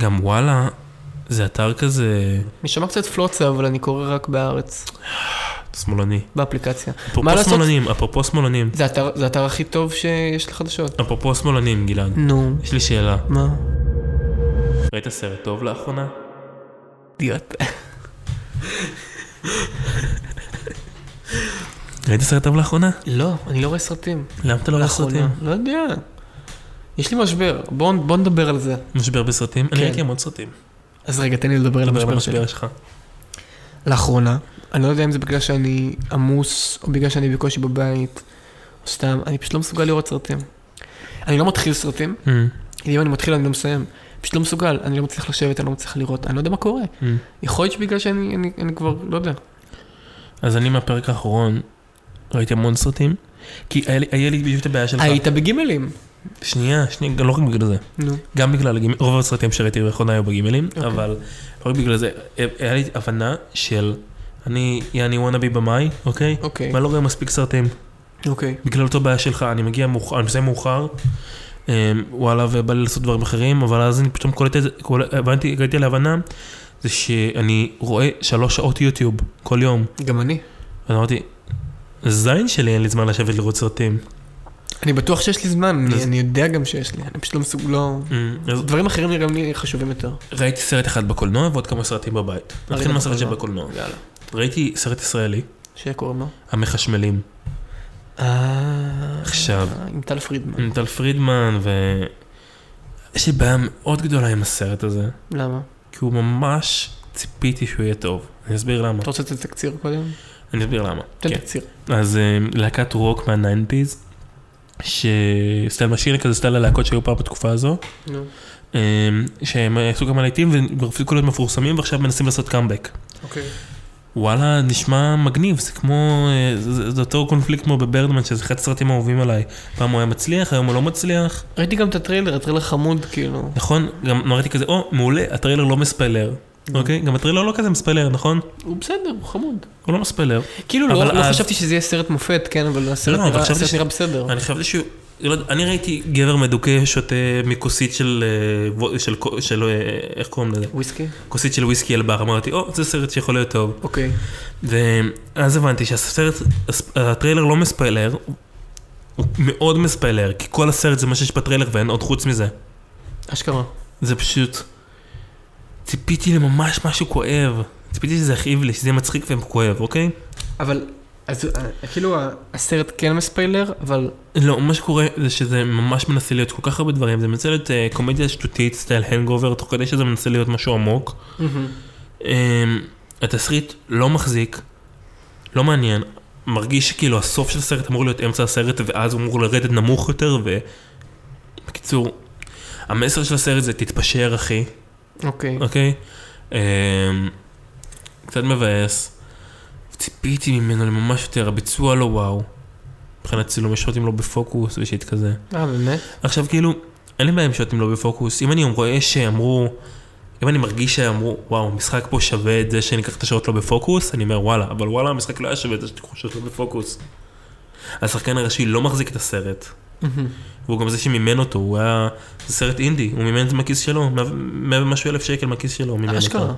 Speaker 2: גם וואלה, זה אתר כזה
Speaker 1: אני שומע קצת פלוצה, אבל אני קורא רק בארץ,
Speaker 2: שמאלני.
Speaker 1: באפליקציה. מה
Speaker 2: אפרופו
Speaker 1: לעשות?
Speaker 2: שמאלנים, אפרופו שמאלנים,
Speaker 1: זה האתר, זה האתר הכי טוב שיש לחדשות.
Speaker 2: אפרופו שמאלנים, גלעד,
Speaker 1: נו,
Speaker 2: יש לי שאלה.
Speaker 1: מה?
Speaker 2: ראית סרט טוב לאחרונה?
Speaker 1: אידיוט.
Speaker 2: ראית סרט טוב לאחרונה?
Speaker 1: לא, אני לא רואה סרטים.
Speaker 2: למה אתה לא רואה
Speaker 1: לאחרונה.
Speaker 2: סרטים?
Speaker 1: לא יודע. יש לי משבר, בוא, בוא נדבר על זה.
Speaker 2: משבר בסרטים? אני
Speaker 1: כן.
Speaker 2: ראיתי המון סרטים. לא
Speaker 1: אז רגע, תן לי לדבר על
Speaker 2: דבר על
Speaker 1: המשבר שלי.
Speaker 2: המשבר שלך.
Speaker 1: לאחרונה, אני לא יודע אם זה בגלל שאני עמוס, או בגלל שאני בקושי בבית, או סתם, אני פשוט לא מסוגל לראות סרטים. אני לא מתחיל סרטים,
Speaker 2: אה,
Speaker 1: אם אני מתחיל אני לא מסיים. פשוט לא מסוגל, אני לא מצליח לשבת, אני לא מצליח לראות, אני לא יודע מה קורה.
Speaker 2: אה.
Speaker 1: יכול להיות שבגלל שאני אני, אני כבר, לא יודע.
Speaker 2: אז אני מהפרק האחרון ראיתי המון סרטים, כי היה לי- היה לי בדיוק את הבעיה שלך.
Speaker 1: היית בגימלים.
Speaker 2: שנייה, שנייה, גם לא רק בגלל זה.
Speaker 1: נו.
Speaker 2: גם בגלל הגימל, רוב הסרטים שראיתי לאחרונה היו בגימלים, אבל לא רק בגלל זה, היה לי הבנה של, אני, יעני וואנה בי במאי, אוקיי?
Speaker 1: אוקיי.
Speaker 2: ואני לא רואה מספיק סרטים.
Speaker 1: אוקיי.
Speaker 2: בגלל אותו בעיה שלך, אני מגיע מאוחר, אני מסיים מאוחר, אה, וואלה, ובא לי לעשות דברים אחרים, אבל אז אני פתאום קולט את זה, קול- הבנתי, הגעתי להבנה, זה שאני רואה שלוש שעות יוטיוב כל יום.
Speaker 1: גם אני.
Speaker 2: אז אמרתי, זין שלי, אין לי זמן לשבת לראות סרטים.
Speaker 1: אני בטוח שיש לי זמן, אני-
Speaker 2: אז-
Speaker 1: אני יודע גם שיש לי, אני פשוט לא מסוג... לא...
Speaker 2: אה, אז
Speaker 1: דברים אחרים נראים לי חשובים יותר.
Speaker 2: ראיתי סרט אחד בקולנוע ועוד כמה סרטים בבית. נתחיל מהסרט שבקולנוע.
Speaker 1: יאללה.
Speaker 2: ראיתי סרט ישראלי,
Speaker 1: שקוראים לו?
Speaker 2: המחשמלים,
Speaker 1: אה...
Speaker 2: עכשיו.
Speaker 1: עם טל פרידמן.
Speaker 2: עם טל פרידמן, ו... יש לי בעיה מאוד גדולה עם הסרט הזה,
Speaker 1: למה?
Speaker 2: כי הוא ממש ציפיתי שהוא יהיה טוב. אני אסביר למה.
Speaker 1: אתה רוצה לתת תקציר קודם?
Speaker 2: אני אסביר למה.
Speaker 1: תן
Speaker 2: כן.
Speaker 1: תקציר.
Speaker 2: אז אה, להקת רוק מהניינטיז, שסטייל משאיר כזה סטייל הלהקות שהיו פעם בתקופה הזו,
Speaker 1: נו.
Speaker 2: אה, שהם עשו כמה להיטים והם הפסיקו להיות מפורסמים ועכשיו מנסים לעשות קאמבק.
Speaker 1: אוקיי.
Speaker 2: וואלה, נשמע מגניב, זה כמו, אה, זה, זה אותו קונפליקט כמו בברדמן, שזה אחד הסרטים האהובים עליי. פעם הוא היה מצליח, היום הוא לא מצליח.
Speaker 1: ראיתי גם את הטריילר, הטריילר חמוד, כאילו.
Speaker 2: נכון? גם אמרתי כזה, או, מעולה, הטריילר לא מספיילר. אוקיי? גם הטריילר לא כזה מספיילר, נכון?
Speaker 1: הוא בסדר, הוא חמוד.
Speaker 2: הוא לא מספיילר.
Speaker 1: כאילו, לא
Speaker 2: אבל
Speaker 1: לא
Speaker 2: אז-
Speaker 1: חשבתי שזה יהיה סרט מופת, כן, אבל הסרט
Speaker 2: לא, אבל
Speaker 1: נראה-
Speaker 2: חשבתי
Speaker 1: הסרט
Speaker 2: ש-
Speaker 1: נראה בסדר.
Speaker 2: אני חשבתי שהוא... לא יודע, אני ראיתי גבר מדוכא שותה מכוסית של, אה, וו- של, קו- של, אה, איך קוראים לזה?
Speaker 1: וויסקי?
Speaker 2: כוסית של וויסקי על בר, אמרתי, או, זה סרט שיכול להיות טוב.
Speaker 1: אוקיי.
Speaker 2: ואז הבנתי שהסרט, הס- הטריילר לא מספיילר, הוא מאוד מספיילר, כי כל הסרט זה מה שיש בטריילר ואין עוד חוץ מזה.
Speaker 1: אשכרה.
Speaker 2: זה פשוט, ציפיתי לממש משהו כואב. ציפיתי שזה יכאיב לי, שזה יהיה מצחיק וכואב, אוקיי?
Speaker 1: אבל, אז אה, כאילו ה- הסרט כן מספיילר, אבל...
Speaker 2: לא, מה שקורה זה שזה ממש מנסה להיות כל כך הרבה דברים, זה מנסה להיות אה, קומדיה שטותית, סטייל הנגובר, תוך כדי שזה מנסה להיות משהו עמוק. אה, התסריט לא מחזיק, לא מעניין, מרגיש שכאילו הסוף של הסרט אמור להיות אמצע הסרט ואז הוא אמור לרדת נמוך יותר ו... בקיצור, המסר של הסרט זה תתפשר אחי,
Speaker 1: אוקיי.
Speaker 2: אוקיי? אה, קצת מבאס, ציפיתי ממנו לממש יותר, הביצוע לא וואו. מבחינת צילומי שוטים לא בפוקוס ושיט כזה.
Speaker 1: אה, באמת?
Speaker 2: עכשיו כאילו, אין לי בעיה עם שוטים לא בפוקוס, אם אני רואה שאמרו, אם אני מרגיש שאמרו, וואו, המשחק פה שווה את זה שניקח את השעות לא בפוקוס, אני אומר וואלה, אבל וואלה, המשחק לא היה שווה את זה שתיקחו שעות לא בפוקוס. השחקן הראשי לא מחזיק את הסרט, והוא גם זה שמימן אותו, הוא היה, זה סרט אינדי, הוא מימן את זה מהכיס שלו, מאה- מאה ומשהו אלף שקל מהכיס שלו, הוא מימן
Speaker 1: אשכרה.
Speaker 2: אותו.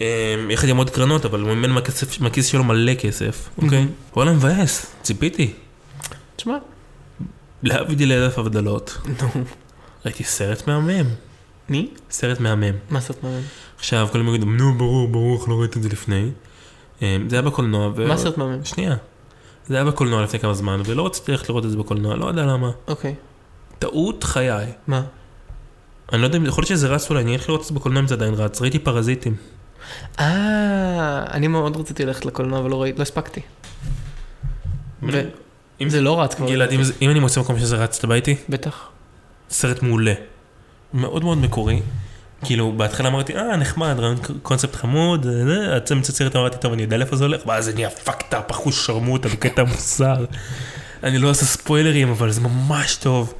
Speaker 2: אמ, יחד עם עוד קרנות, אבל הוא מימן מהכסף- מהכיס שלו מלא כסף, אוקיי? וואלה, מבאס, ציפיתי.
Speaker 1: תשמע,
Speaker 2: להבדיל אלף הבדלות.
Speaker 1: נו.
Speaker 2: ראיתי סרט מהמם.
Speaker 1: מי?
Speaker 2: סרט מהמם.
Speaker 1: מה סרט מהמם?
Speaker 2: עכשיו כולם יגידו, נו ברור, ברור, איך לא ראיתי את זה לפני. אה, זה היה בקולנוע. ו-
Speaker 1: מה סרט מהמם?
Speaker 2: שנייה. זה היה בקולנוע לפני כמה זמן, ולא רציתי ללכת לראות את זה בקולנוע, לא יודע למה.
Speaker 1: אוקיי.
Speaker 2: טעות חיי.
Speaker 1: מה?
Speaker 2: אני לא יודע אם יכול להיות שזה רץ אולי, אני אלך לראות את זה בקולנוע אם זה עדיין רץ. ראיתי פרזיטים.
Speaker 1: אה, אני מאוד רציתי ללכת לקולנוע, אבל לא ראיתי, לא הספקתי. ו-
Speaker 2: אם-
Speaker 1: זה לא רץ כבר.
Speaker 2: גלעד, אם זה- אם אני מוצא מקום שזה רץ, אתה בא איתי?
Speaker 1: בטח.
Speaker 2: סרט מעולה. מאוד מאוד מקורי. כאילו, בהתחלה אמרתי, אה, נחמד, רעיון קונספט חמוד, אה, זה, עד אמצע סרט אמרתי, טוב, אני יודע לאיפה זה הולך, ואז זה נהיה fucked up, אחוז שרמוטה בקטע מוסר. אני לא עושה ספוילרים, אבל זה ממש טוב.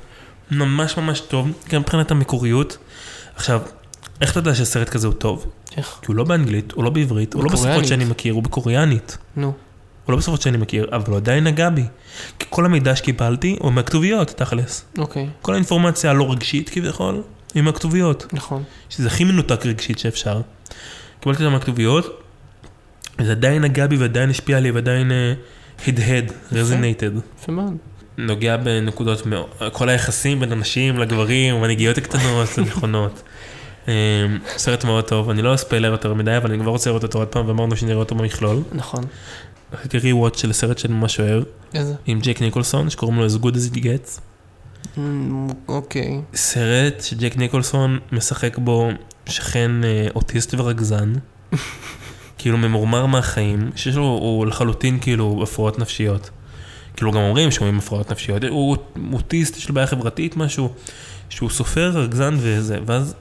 Speaker 2: ממש ממש טוב, גם מבחינת המקוריות. עכשיו, איך אתה יודע שסרט כזה הוא טוב?
Speaker 1: איך?
Speaker 2: כי הוא לא באנגלית, הוא לא בעברית, הוא לא בשפות
Speaker 1: בקוריאנית.
Speaker 2: שאני מכיר, הוא בקוריאנית.
Speaker 1: נו.
Speaker 2: הוא לא בשפות שאני מכיר, אבל הוא עדיין נגע בי. כי כל המידע שקיבלתי הוא מהכתוביות, תכלס.
Speaker 1: אוקיי.
Speaker 2: כל האינפורמציה הלא רגשית כביכול, היא מהכתוביות,
Speaker 1: נכון.
Speaker 2: שזה הכי מנותק רגשית שאפשר. קיבלתי אותה מהכתוביות, זה עדיין נגע בי ועדיין השפיע עלי ועדיין אה, הדהד, רזינטד.
Speaker 1: יפה מאוד.
Speaker 2: נוגע בנקודות מאוד, כל היחסים בין הנשים לגברים, המנהיגיות הקטנות, הנכונות. אה, סרט מאוד טוב, אני לא אספיילר יותר מדי, אבל אני כבר רוצה לראות אותו עוד פעם, ואמרנו שנראה אותו במכלול.
Speaker 1: נכון.
Speaker 2: עשיתי re-watch של סרט שאני ממש אוהב,
Speaker 1: איזה?
Speaker 2: עם ג'ק ניקולסון, שקוראים לו As Good As It Gets.
Speaker 1: אמ, אוקיי.
Speaker 2: סרט שג'ק ניקולסון משחק בו שכן אה, אוטיסט ורגזן, כאילו ממורמר מהחיים, שיש לו, הוא לחלוטין כאילו הפרעות נפשיות. כאילו גם אומרים שהוא עם הפרעות נפשיות, הוא אוטיסט, יש לו בעיה חברתית, משהו, שהוא סופר, רגזן וזה, ואז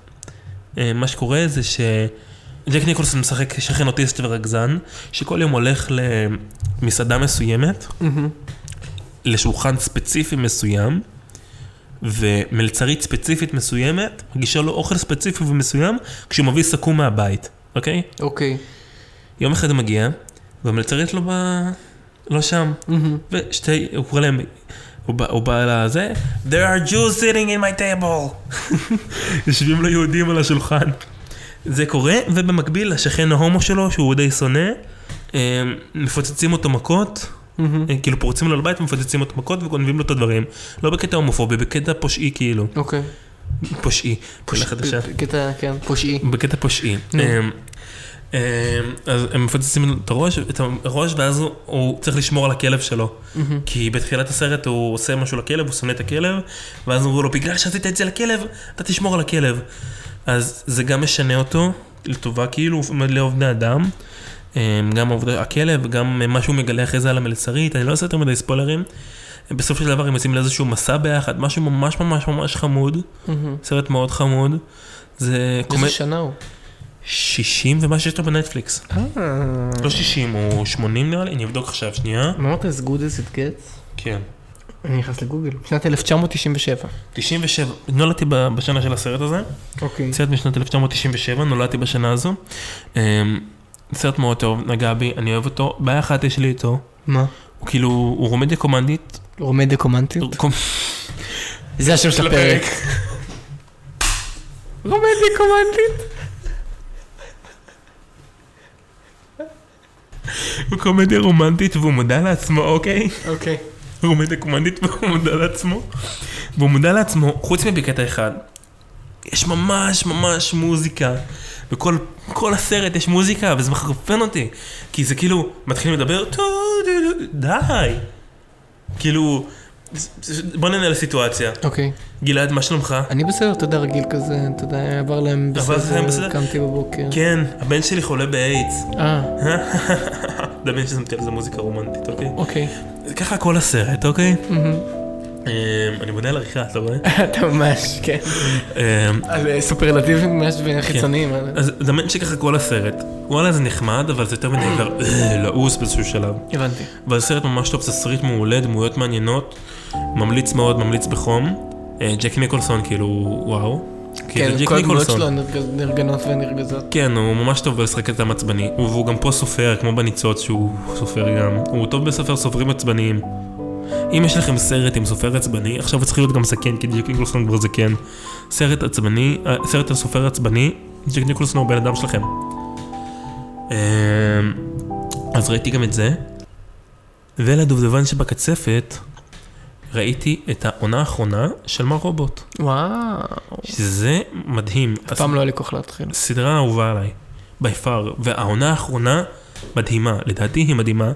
Speaker 2: אה, מה שקורה זה שג'ק ניקולסון משחק שכן אוטיסט ורגזן, שכל יום הולך למסעדה מסוימת, לשולחן ספציפי מסוים, ומלצרית ספציפית מסוימת, מגישה לו אוכל ספציפי ומסוים, כשהוא מביא סכו"ם מהבית, אוקיי?
Speaker 1: אוקיי.
Speaker 2: יום אחד הוא מגיע, והמלצרית לא ב... לא שם. ושתי, הוא קורא להם, הוא בא, הוא בא לזה, There are Jews sitting in my table. [LAUGHS] יושבים לו יהודים על השולחן. זה קורה, ובמקביל השכן ההומו שלו, שהוא די שונא, אה, מפוצצים אותו מכות, אה, כאילו פורצים לו לבית, מפוצצים אותו מכות וגונבים לו את הדברים. לא בקטע הומופובי, בקטע פושעי כאילו.
Speaker 1: אוקיי.
Speaker 2: פושעי, פושעי חדשה.
Speaker 1: קטע, כן, פושעי.
Speaker 2: בקטע פושעי. אמ, אמ, אז הם מפוצצים לו את הראש, את הראש, ואז הוא- הוא צריך לשמור על הכלב שלו. כי בתחילת הסרט הוא עושה משהו לכלב, הוא שונא את הכלב, ואז אמרו לו, בגלל שעשית את זה לכלב, אתה תשמור על הכלב. אז זה גם משנה אותו, לטובה כאילו, הוא עומד לאהוב בני אדם. אמ, גם העובדה, הכלב, גם מה שהוא מגלה אחרי זה על המלצרית, אני לא עושה יותר מדי ספוילרים. בסופו של דבר הם יוצאים לאיזשהו מסע ביחד, משהו ממש ממש ממש חמוד, סרט מאוד חמוד. זה קומד-
Speaker 1: איזה שנה הוא?
Speaker 2: 60 ומה שיש לו בנטפליקס. לא 60, הוא 80 נראה לי, אני אבדוק עכשיו שנייה.
Speaker 1: מה אמרת? as good as it gets?
Speaker 2: כן.
Speaker 1: אני נכנס לגוגל. שנת 1997.
Speaker 2: 97, נולדתי ב- בשנה של הסרט הזה.
Speaker 1: אוקיי.
Speaker 2: סרט משנת 1997, נולדתי בשנה הזו. אמ, סרט מאוד טוב, נגע בי, אני אוהב אותו. בעיה אחת יש לי איתו,
Speaker 1: מה?
Speaker 2: הוא כאילו, הוא רומדיה קומנדית.
Speaker 1: רומדיה קומנטיות?
Speaker 2: קומ- [LAUGHS]
Speaker 1: זה השם של הפרק. רומדיה קומנטית?
Speaker 2: הוא קומדיה רומנטית והוא מודע לעצמו, אוקיי?
Speaker 1: אוקיי.
Speaker 2: הוא עומד לקומנדית והוא מודע לעצמו. והוא מודע לעצמו, חוץ מבקטע אחד. יש ממש ממש מוזיקה. בכל כל הסרט יש מוזיקה, וזה מחרפן אותי. כי זה כאילו, מתחילים לדבר, "טו, דו, דו", די. כאילו, בוא נענה לסיטואציה.
Speaker 1: אוקיי.
Speaker 2: גלעד, מה שלומך?
Speaker 1: אני בסדר, אתה יודע, רגיל כזה, אתה יודע, עבר להם
Speaker 2: עבר להם בסדר?
Speaker 1: בסדר, קמתי בבוקר.
Speaker 2: כן, הבן שלי חולה באיידס. [LAUGHS]
Speaker 1: אה,
Speaker 2: דמיין ששמתי על זה מוזיקה רומנטית, אוקיי?
Speaker 1: אוקיי.
Speaker 2: ככה כל הסרט, אוקיי?
Speaker 1: מהמם.
Speaker 2: אה, אני בונה על עריכה, אתה רואה?
Speaker 1: אתה ממש, כן.
Speaker 2: אה,
Speaker 1: על אה, סופרלטיבים ממש חיצוניים. אה.
Speaker 2: אז דמיין שככה כל הסרט, וואלה זה נחמד, אבל זה יותר מדי כבר אה, לעוס באיזשהו שלב.
Speaker 1: הבנתי.
Speaker 2: אבל סרט ממש טוב, תסריט מעולה, דמויות מעניינות, ממליץ מאוד, ממליץ בחום. אה, ג'ק ניקולסון כאילו, וואו. כי
Speaker 1: כן,
Speaker 2: זה ג'ק
Speaker 1: כל הדמויות
Speaker 2: ניקולסון.
Speaker 1: שלו נרגז- נרגנות ונרגזות.
Speaker 2: כן, הוא ממש טוב בלשחק את המצבני, והוא גם פה סופר, כמו בניצוץ שהוא סופר גם. הוא טוב בסופר סופרים עצבניים. אם יש לכם סרט עם סופר עצבני, עכשיו הוא צריך להיות גם זקן, כי ג'ק ניקולסון כבר זקן. סרט עצבני, אה, סרט על סופר עצבני, ג'ק ניקולסון הוא בן אדם שלכם. אה, אז ראיתי גם את זה, ולדובדבן שבקצפת, ראיתי את העונה האחרונה של מר רובוט.
Speaker 1: וואו.
Speaker 2: שזה מדהים.
Speaker 1: פעם לא היה לי כוח להתחיל.
Speaker 2: סדרה אהובה עליי, by far, והעונה האחרונה מדהימה, לדעתי היא מדהימה.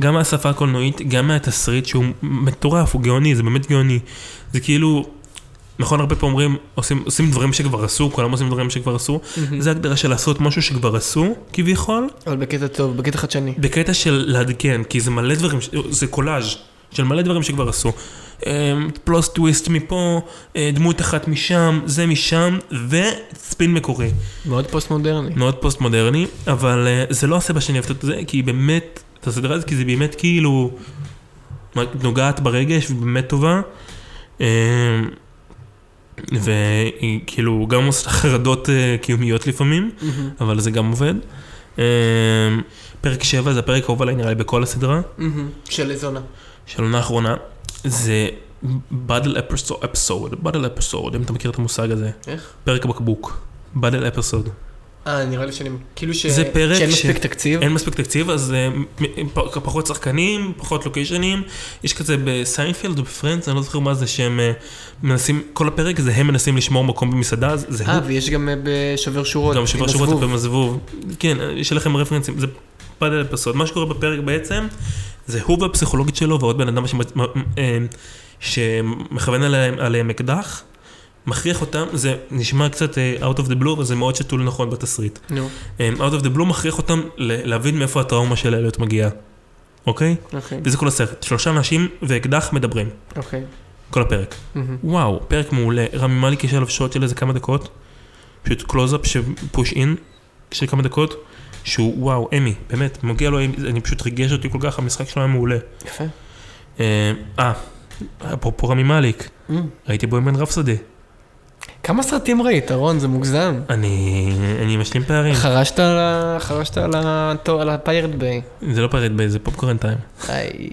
Speaker 2: גם מהשפה הקולנועית, גם מהתסריט שהוא מטורף, הוא גאוני, זה באמת גאוני. זה כאילו, נכון הרבה פעמים אומרים, עושים, עושים דברים שכבר עשו, כולם עושים דברים שכבר עשו, זה הגדרה של לעשות משהו שכבר עשו, כביכול,
Speaker 1: אבל בקטע טוב, בקטע חדשני.
Speaker 2: בקטע של לעדכן, כי זה מלא דברים, ש- זה קולאז' של מלא דברים שכבר עשו. אמ, פלוס טוויסט מפה, אה, דמות אחת משם, זה משם, וספין מקורי.
Speaker 1: מאוד פוסט מודרני.
Speaker 2: מאוד פוסט מודרני, אבל אה, זה לא הסיבה שאני אוהבת את זה, כי היא באמת, את הסדרה הזאת, כי זה באמת כאילו נוגעת ברגש ובאמת טובה. אה, והיא כאילו גם עושה חרדות אה, קיומיות לפעמים, אבל זה גם עובד. אה, פרק 7 זה הפרק האהוב עליי נראה לי בכל הסדרה,
Speaker 1: של איזונה.
Speaker 2: של עונה האחרונה. זה באדל אפיסוד, באדל אפיסוד, אם אתה מכיר את המושג הזה.
Speaker 1: איך?
Speaker 2: פרק הבקבוק, באדל אפיסוד.
Speaker 1: אה, נראה לי שאני... כאילו ש...
Speaker 2: זה פרק
Speaker 1: שאין
Speaker 2: ש-
Speaker 1: מספיק תקציב.
Speaker 2: אין מספיק תקציב, אז אה, מ- מ- פ- פחות שחקנים, פחות לוקיישנים. יש כזה בסיינפילד או בפרנדס, אני לא זוכר מה זה, שהם אה, מנסים, כל הפרק זה הם מנסים לשמור מקום במסעדה, אז זה
Speaker 1: אה,
Speaker 2: הוא,
Speaker 1: ויש גם אה, בשובר שורות.
Speaker 2: גם שבר
Speaker 1: עם
Speaker 2: שורות
Speaker 1: הזבוב.
Speaker 2: עם הזבוב. כן, אה, יש לכם רפרנסים, זה פאדל פסוד. מה שקורה בפרק בעצם, זה הוא והפסיכולוגית שלו ועוד בן אדם שמצ- מ- אה, שמכוון עליהם- עליהם אקדח. מכריח אותם, זה נשמע קצת אה, out of the blue, אבל זה מאוד שתול נכון בתסריט.
Speaker 1: נו,
Speaker 2: הם, אמ, Out of the blue מכריח אותם ל- להבין מאיפה הטראומה של אליוט מגיעה, אוקיי?
Speaker 1: אוקיי.
Speaker 2: וזה כל הסרט. שלושה אנשים ואקדח מדברים,
Speaker 1: אוקיי.
Speaker 2: כל הפרק.
Speaker 1: מהמם.
Speaker 2: וואו, פרק מעולה. רמי מליק יש עליו שוט של איזה כמה דקות, פשוט קלוזאפ שפוש אין של כמה דקות, שהוא וואו, אמי, באמת, מגיע לו אמי, אני פשוט ריגש אותי כל כך, המשחק שלו היה מעולה.
Speaker 1: יפה.
Speaker 2: אה, אה, אפרופו רמי מאליק, ראיתי בו עם בן רפסודי.
Speaker 1: כמה סרטים ראית, רון? זה מוגזם.
Speaker 2: אני אני משלים [LAUGHS] פערים.
Speaker 1: חרשת על ה... חרשת על ה... טוב, על הפיירט ביי.
Speaker 2: זה לא פרט בי, זה פופקורן טיים.
Speaker 1: איי.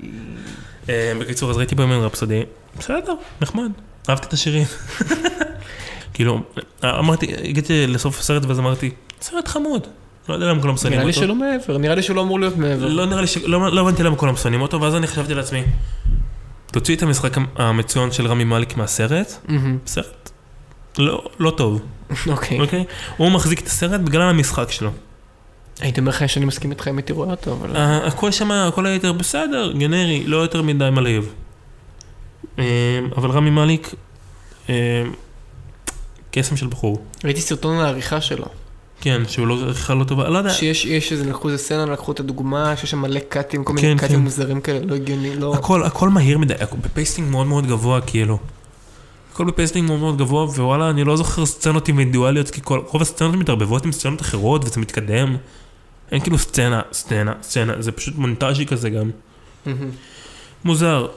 Speaker 2: אה, בקיצור, אז ראיתי בוימן רפסודי, בסדר, נחמד, אהבתי את השירים. [LAUGHS] כאילו, אמרתי, הגעתי לסוף הסרט ואז אמרתי, סרט חמוד. לא יודע למה כולם שונאים
Speaker 1: נראה לי
Speaker 2: אותו.
Speaker 1: שלא מעבר, נראה לי שלא אמור להיות מעבר.
Speaker 2: לא נראה לי ש... לא, לא הבנתי למה כולם שונאים אותו, ואז אני חשבתי לעצמי, תוציא את המשחק המצוין של רמי מאליק מהסרט,
Speaker 1: מהמם,
Speaker 2: סרט לא, לא טוב,
Speaker 1: אוקיי.
Speaker 2: אוקיי? הוא מחזיק את הסרט בגלל המשחק שלו.
Speaker 1: הייתי אומר לך שאני מסכים איתך אם הייתי רואה אותו, אבל...
Speaker 2: ה- הכל שם, הכל היתר בסדר, גנרי, לא יותר מדי מלהיב. אה, אבל רמי מאליק, אה, קסם של בחור.
Speaker 1: ראיתי סרטון על העריכה שלו.
Speaker 2: כן, שהוא לא עריכה לא טובה, לא יודע.
Speaker 1: שיש יש איזה, לקחו איזה סצנה, לקחו את הדוגמה, שיש שם מלא קאטים, כל
Speaker 2: כן,
Speaker 1: מיני קאטים
Speaker 2: כן.
Speaker 1: מוזרים כאלה, לא הגיוני, לא...
Speaker 2: הכל, הכל מהיר מדי, הכל בפייסטינג מאוד מאוד גבוה, כאילו. הכל בפייסטינג מאוד מאוד גבוה, ווואלה, אני לא זוכר סצנות אינדיבידואליות, כי כל, רוב הסצנות מתערבבות עם סצנות אחרות, וזה מתקדם. אין כאילו סצנה, סצנה, סצנה, זה פשוט מונטאז'י כזה גם.
Speaker 1: מהמם.
Speaker 2: מוזר.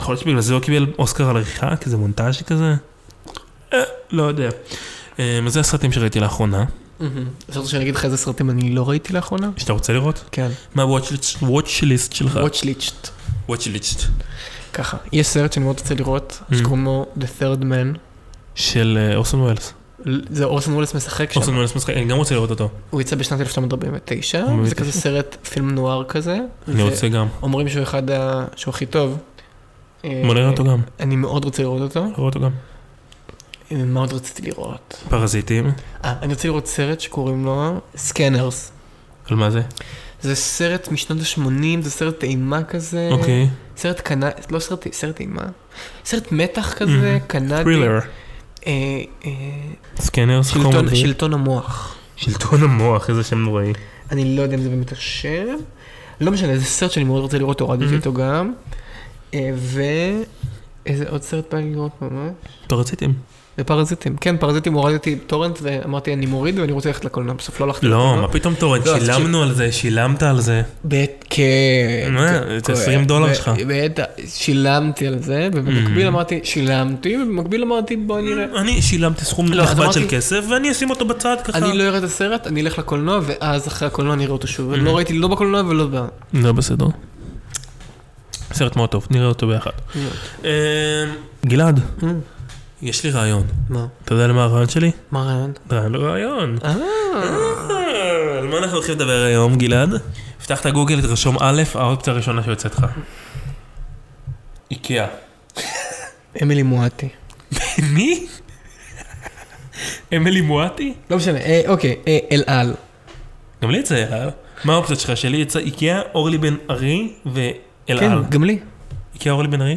Speaker 2: יכול להיות שבגלל זה הוא קיבל אוסקר על עריכה, כי זה מונטאז' כזה? אה, לא יודע. אה, אז זה הסרטים שראיתי לאחרונה,
Speaker 1: מהמם. חשבת שאני אגיד לך איזה סרטים אני לא ראיתי לאחרונה?
Speaker 2: שאתה רוצה לראות?
Speaker 1: כן.
Speaker 2: מה ה-watch list שלך?
Speaker 1: Watch List.
Speaker 2: watch list.
Speaker 1: ככה. יש סרט שאני מאוד רוצה לראות,
Speaker 2: Mm.
Speaker 1: שקוראים לו The Third Man.
Speaker 2: של אה, אורסון וולס.
Speaker 1: זה אורסון וולס משחק שם.
Speaker 2: אורסון וולס משחק, אני גם רוצה לראות אותו.
Speaker 1: הוא יצא בשנת 1949, זה
Speaker 2: 49.
Speaker 1: כזה סרט פילם נוער כזה.
Speaker 2: אני
Speaker 1: ו-
Speaker 2: רוצה גם.
Speaker 1: אומרים שהוא אחד ה... שהוא הכי טוב. אה,
Speaker 2: בוא נראה אותו גם.
Speaker 1: אני מאוד רוצה לראות אותו.
Speaker 2: נראה אותו גם.
Speaker 1: אה, מה עוד רציתי לראות?
Speaker 2: פרזיטים.
Speaker 1: אה, אני רוצה לראות סרט שקוראים לו סקנרס.
Speaker 2: על מה זה?
Speaker 1: זה סרט משנות ה-80, זה סרט אימה כזה.
Speaker 2: אוקיי.
Speaker 1: סרט קנא... לא סרט... סרט אימה. סרט מתח כזה,
Speaker 2: Mm-hmm.
Speaker 1: קנדי.
Speaker 2: טרילר.
Speaker 1: אה, אה,
Speaker 2: סקנר.
Speaker 1: שלטון- שלטון המוח.
Speaker 2: שלטון המוח, איזה שם נוראי.
Speaker 1: אני לא יודע אם זה באמת השם. לא משנה, זה סרט שאני מאוד רוצה לראות, הורדתי
Speaker 2: Mm-hmm.
Speaker 1: אותו גם. אה, ו... איזה עוד סרט בא לי לראות ממש?
Speaker 2: פרזיטים.
Speaker 1: זה פרזיטים. כן, פרזיטים הורדתי טורנט ואמרתי אני מוריד ואני רוצה ללכת לקולנוע. בסוף לא הלכתי
Speaker 2: לא,
Speaker 1: לקולנוע.
Speaker 2: מה פתאום טורנט?
Speaker 1: לא, אז
Speaker 2: שילמנו על זה, שילמת על זה.
Speaker 1: בית, כן.
Speaker 2: מה, את 20
Speaker 1: ב-
Speaker 2: דולר
Speaker 1: ב-
Speaker 2: שלך.
Speaker 1: בטח, שילמתי על זה, ובמקביל
Speaker 2: Mm.
Speaker 1: אמרתי, שילמתי, ובמקביל אמרתי בוא נראה.
Speaker 2: אני שילמתי סכום
Speaker 1: לא, אז
Speaker 2: נכבד של
Speaker 1: אמרתי-
Speaker 2: כסף, ואני אשים אותו בצד ככה.
Speaker 1: אני לא אראה את הסרט, אני אלך לקולנוע, ואז אחרי הקולנוע אני אראה אותו שוב.
Speaker 2: Mm.
Speaker 1: לא ראיתי לא בקולנוע ולא ב...
Speaker 2: לא בסדר. סרט מאוד טוב, נראה אותו ביחד.
Speaker 1: לא.
Speaker 2: אה, גלעד, יש לי רעיון.
Speaker 1: מה?
Speaker 2: אתה יודע למה הרעיון שלי?
Speaker 1: מה הרעיון?
Speaker 2: רעיון לא רעיון.
Speaker 1: אה.
Speaker 2: אה, על מה אנחנו הולכים לדבר היום, גלעד? פתח את הגוגל, תרשום א', האופציה הראשונה שיוצאת לך. איקאה.
Speaker 1: אמילי מואטי.
Speaker 2: מי? [LAUGHS] אמילי מואטי?
Speaker 1: לא משנה, אה, אוקיי, אה, אל על.
Speaker 2: גם לי יצא אל על. מה האופציות שלך? שלי יצא איקאה, אורלי בן ארי ואל על.
Speaker 1: כן, גם לי.
Speaker 2: איקאה, אורלי בן ארי?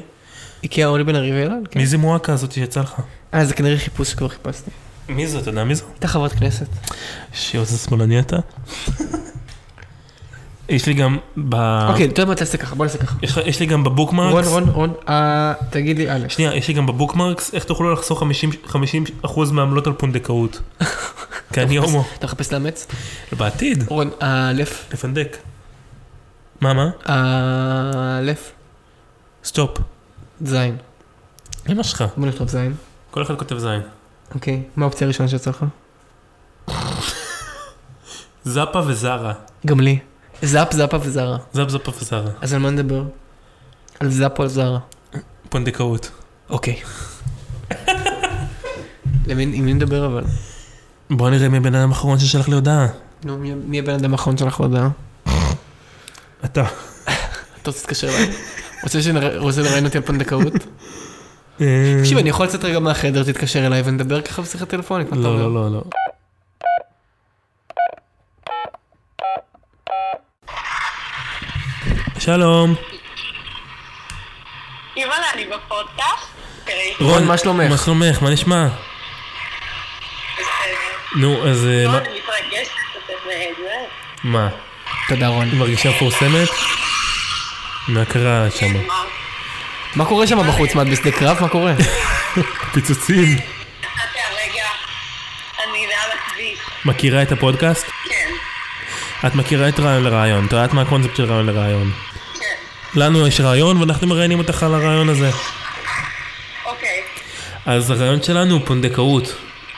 Speaker 1: איקאה אורלי בן ארי ואל על, כן.
Speaker 2: מי זה מועקה הזאת שיצא לך?
Speaker 1: אה, זה כנראה חיפוש שכבר חיפשתי.
Speaker 2: מי זו? אתה יודע מי זו?
Speaker 1: הייתה חברת כנסת.
Speaker 2: אה. שיו, איזה שמאלני אתה. יש לי גם ב...
Speaker 1: אוקיי, אתה יודע מה, תעשה ככה, בוא נעשה ככה.
Speaker 2: יש לך- יש לי גם בבוקמרקס.
Speaker 1: רון, רון, רון, אה, תגיד לי א',
Speaker 2: שנייה, יש לי גם בבוקמרקס, איך תוכלו לחסוך 50 50% מהעמלות על
Speaker 1: [LAUGHS]
Speaker 2: פונדקאות. כי אני הומו.
Speaker 1: אתה מחפש לאמץ?
Speaker 2: בעתיד,
Speaker 1: רון, אה, א',
Speaker 2: לפנדק. מה, מה?
Speaker 1: א',
Speaker 2: סטופ.
Speaker 1: אה, זין.
Speaker 2: אמא שלך.
Speaker 1: בוא נכתוב זין.
Speaker 2: כל אחד כותב זין.
Speaker 1: אוקיי, מה האופציה הראשונה שיצא לך?
Speaker 2: זאפה וזרה.
Speaker 1: גם לי. זאפ, זאפה וזרה.
Speaker 2: זאפ זאפה וזרה.
Speaker 1: אז על מה נדבר? על זאפ או על זרה?
Speaker 2: פונדקאות.
Speaker 1: אוקיי. למי- עם מי נדבר אבל?
Speaker 2: בוא נראה מי הבן אדם האחרון ששלח לי הודעה.
Speaker 1: נו, מי- מי הבן אדם האחרון שלך אה? הודעה?
Speaker 2: אתה.
Speaker 1: אתה רוצה להתקשר אליי? [LAUGHS] רוצה שנרא- רוצה לראיין אותי על פונדקאות? [LAUGHS]
Speaker 2: אה,
Speaker 1: תקשיב, אני יכול לצאת רגע מהחדר, תתקשר אליי ונדבר ככה בשיחה טלפונית. מה אתה
Speaker 2: לא,
Speaker 1: אומר?
Speaker 2: לא, לא, לא. שלום.
Speaker 4: אימא'לה, אני בפודקאסט? תראי,
Speaker 1: רון, מה שלומך?
Speaker 2: מה שלומך? מה נשמע?
Speaker 4: בסדר.
Speaker 2: נו, אז אה,
Speaker 4: לא,
Speaker 2: מה-
Speaker 4: אני מתרגשת, אתם, אה, זה.
Speaker 1: לא,
Speaker 2: מה?
Speaker 1: תודה רון.
Speaker 2: היא מרגישה מפורסמת? מה קרה שם?
Speaker 1: לא.
Speaker 4: מה?
Speaker 1: מה קורה שם בחוץ? מה, את בשדה קרב? מה קורה?
Speaker 2: פיצוצים.
Speaker 4: אתה רגע, אני ליד הכביש.
Speaker 2: מכירה את הפודקאסט?
Speaker 4: כן,
Speaker 2: את מכירה את רעיון לרעיון, את יודעת מה הקונספט של רעיון לרעיון.
Speaker 4: כן.
Speaker 2: לנו יש רעיון ואנחנו מראיינים אותך על הרעיון הזה.
Speaker 4: אוקיי.
Speaker 2: אז הרעיון שלנו הוא פונדקאות.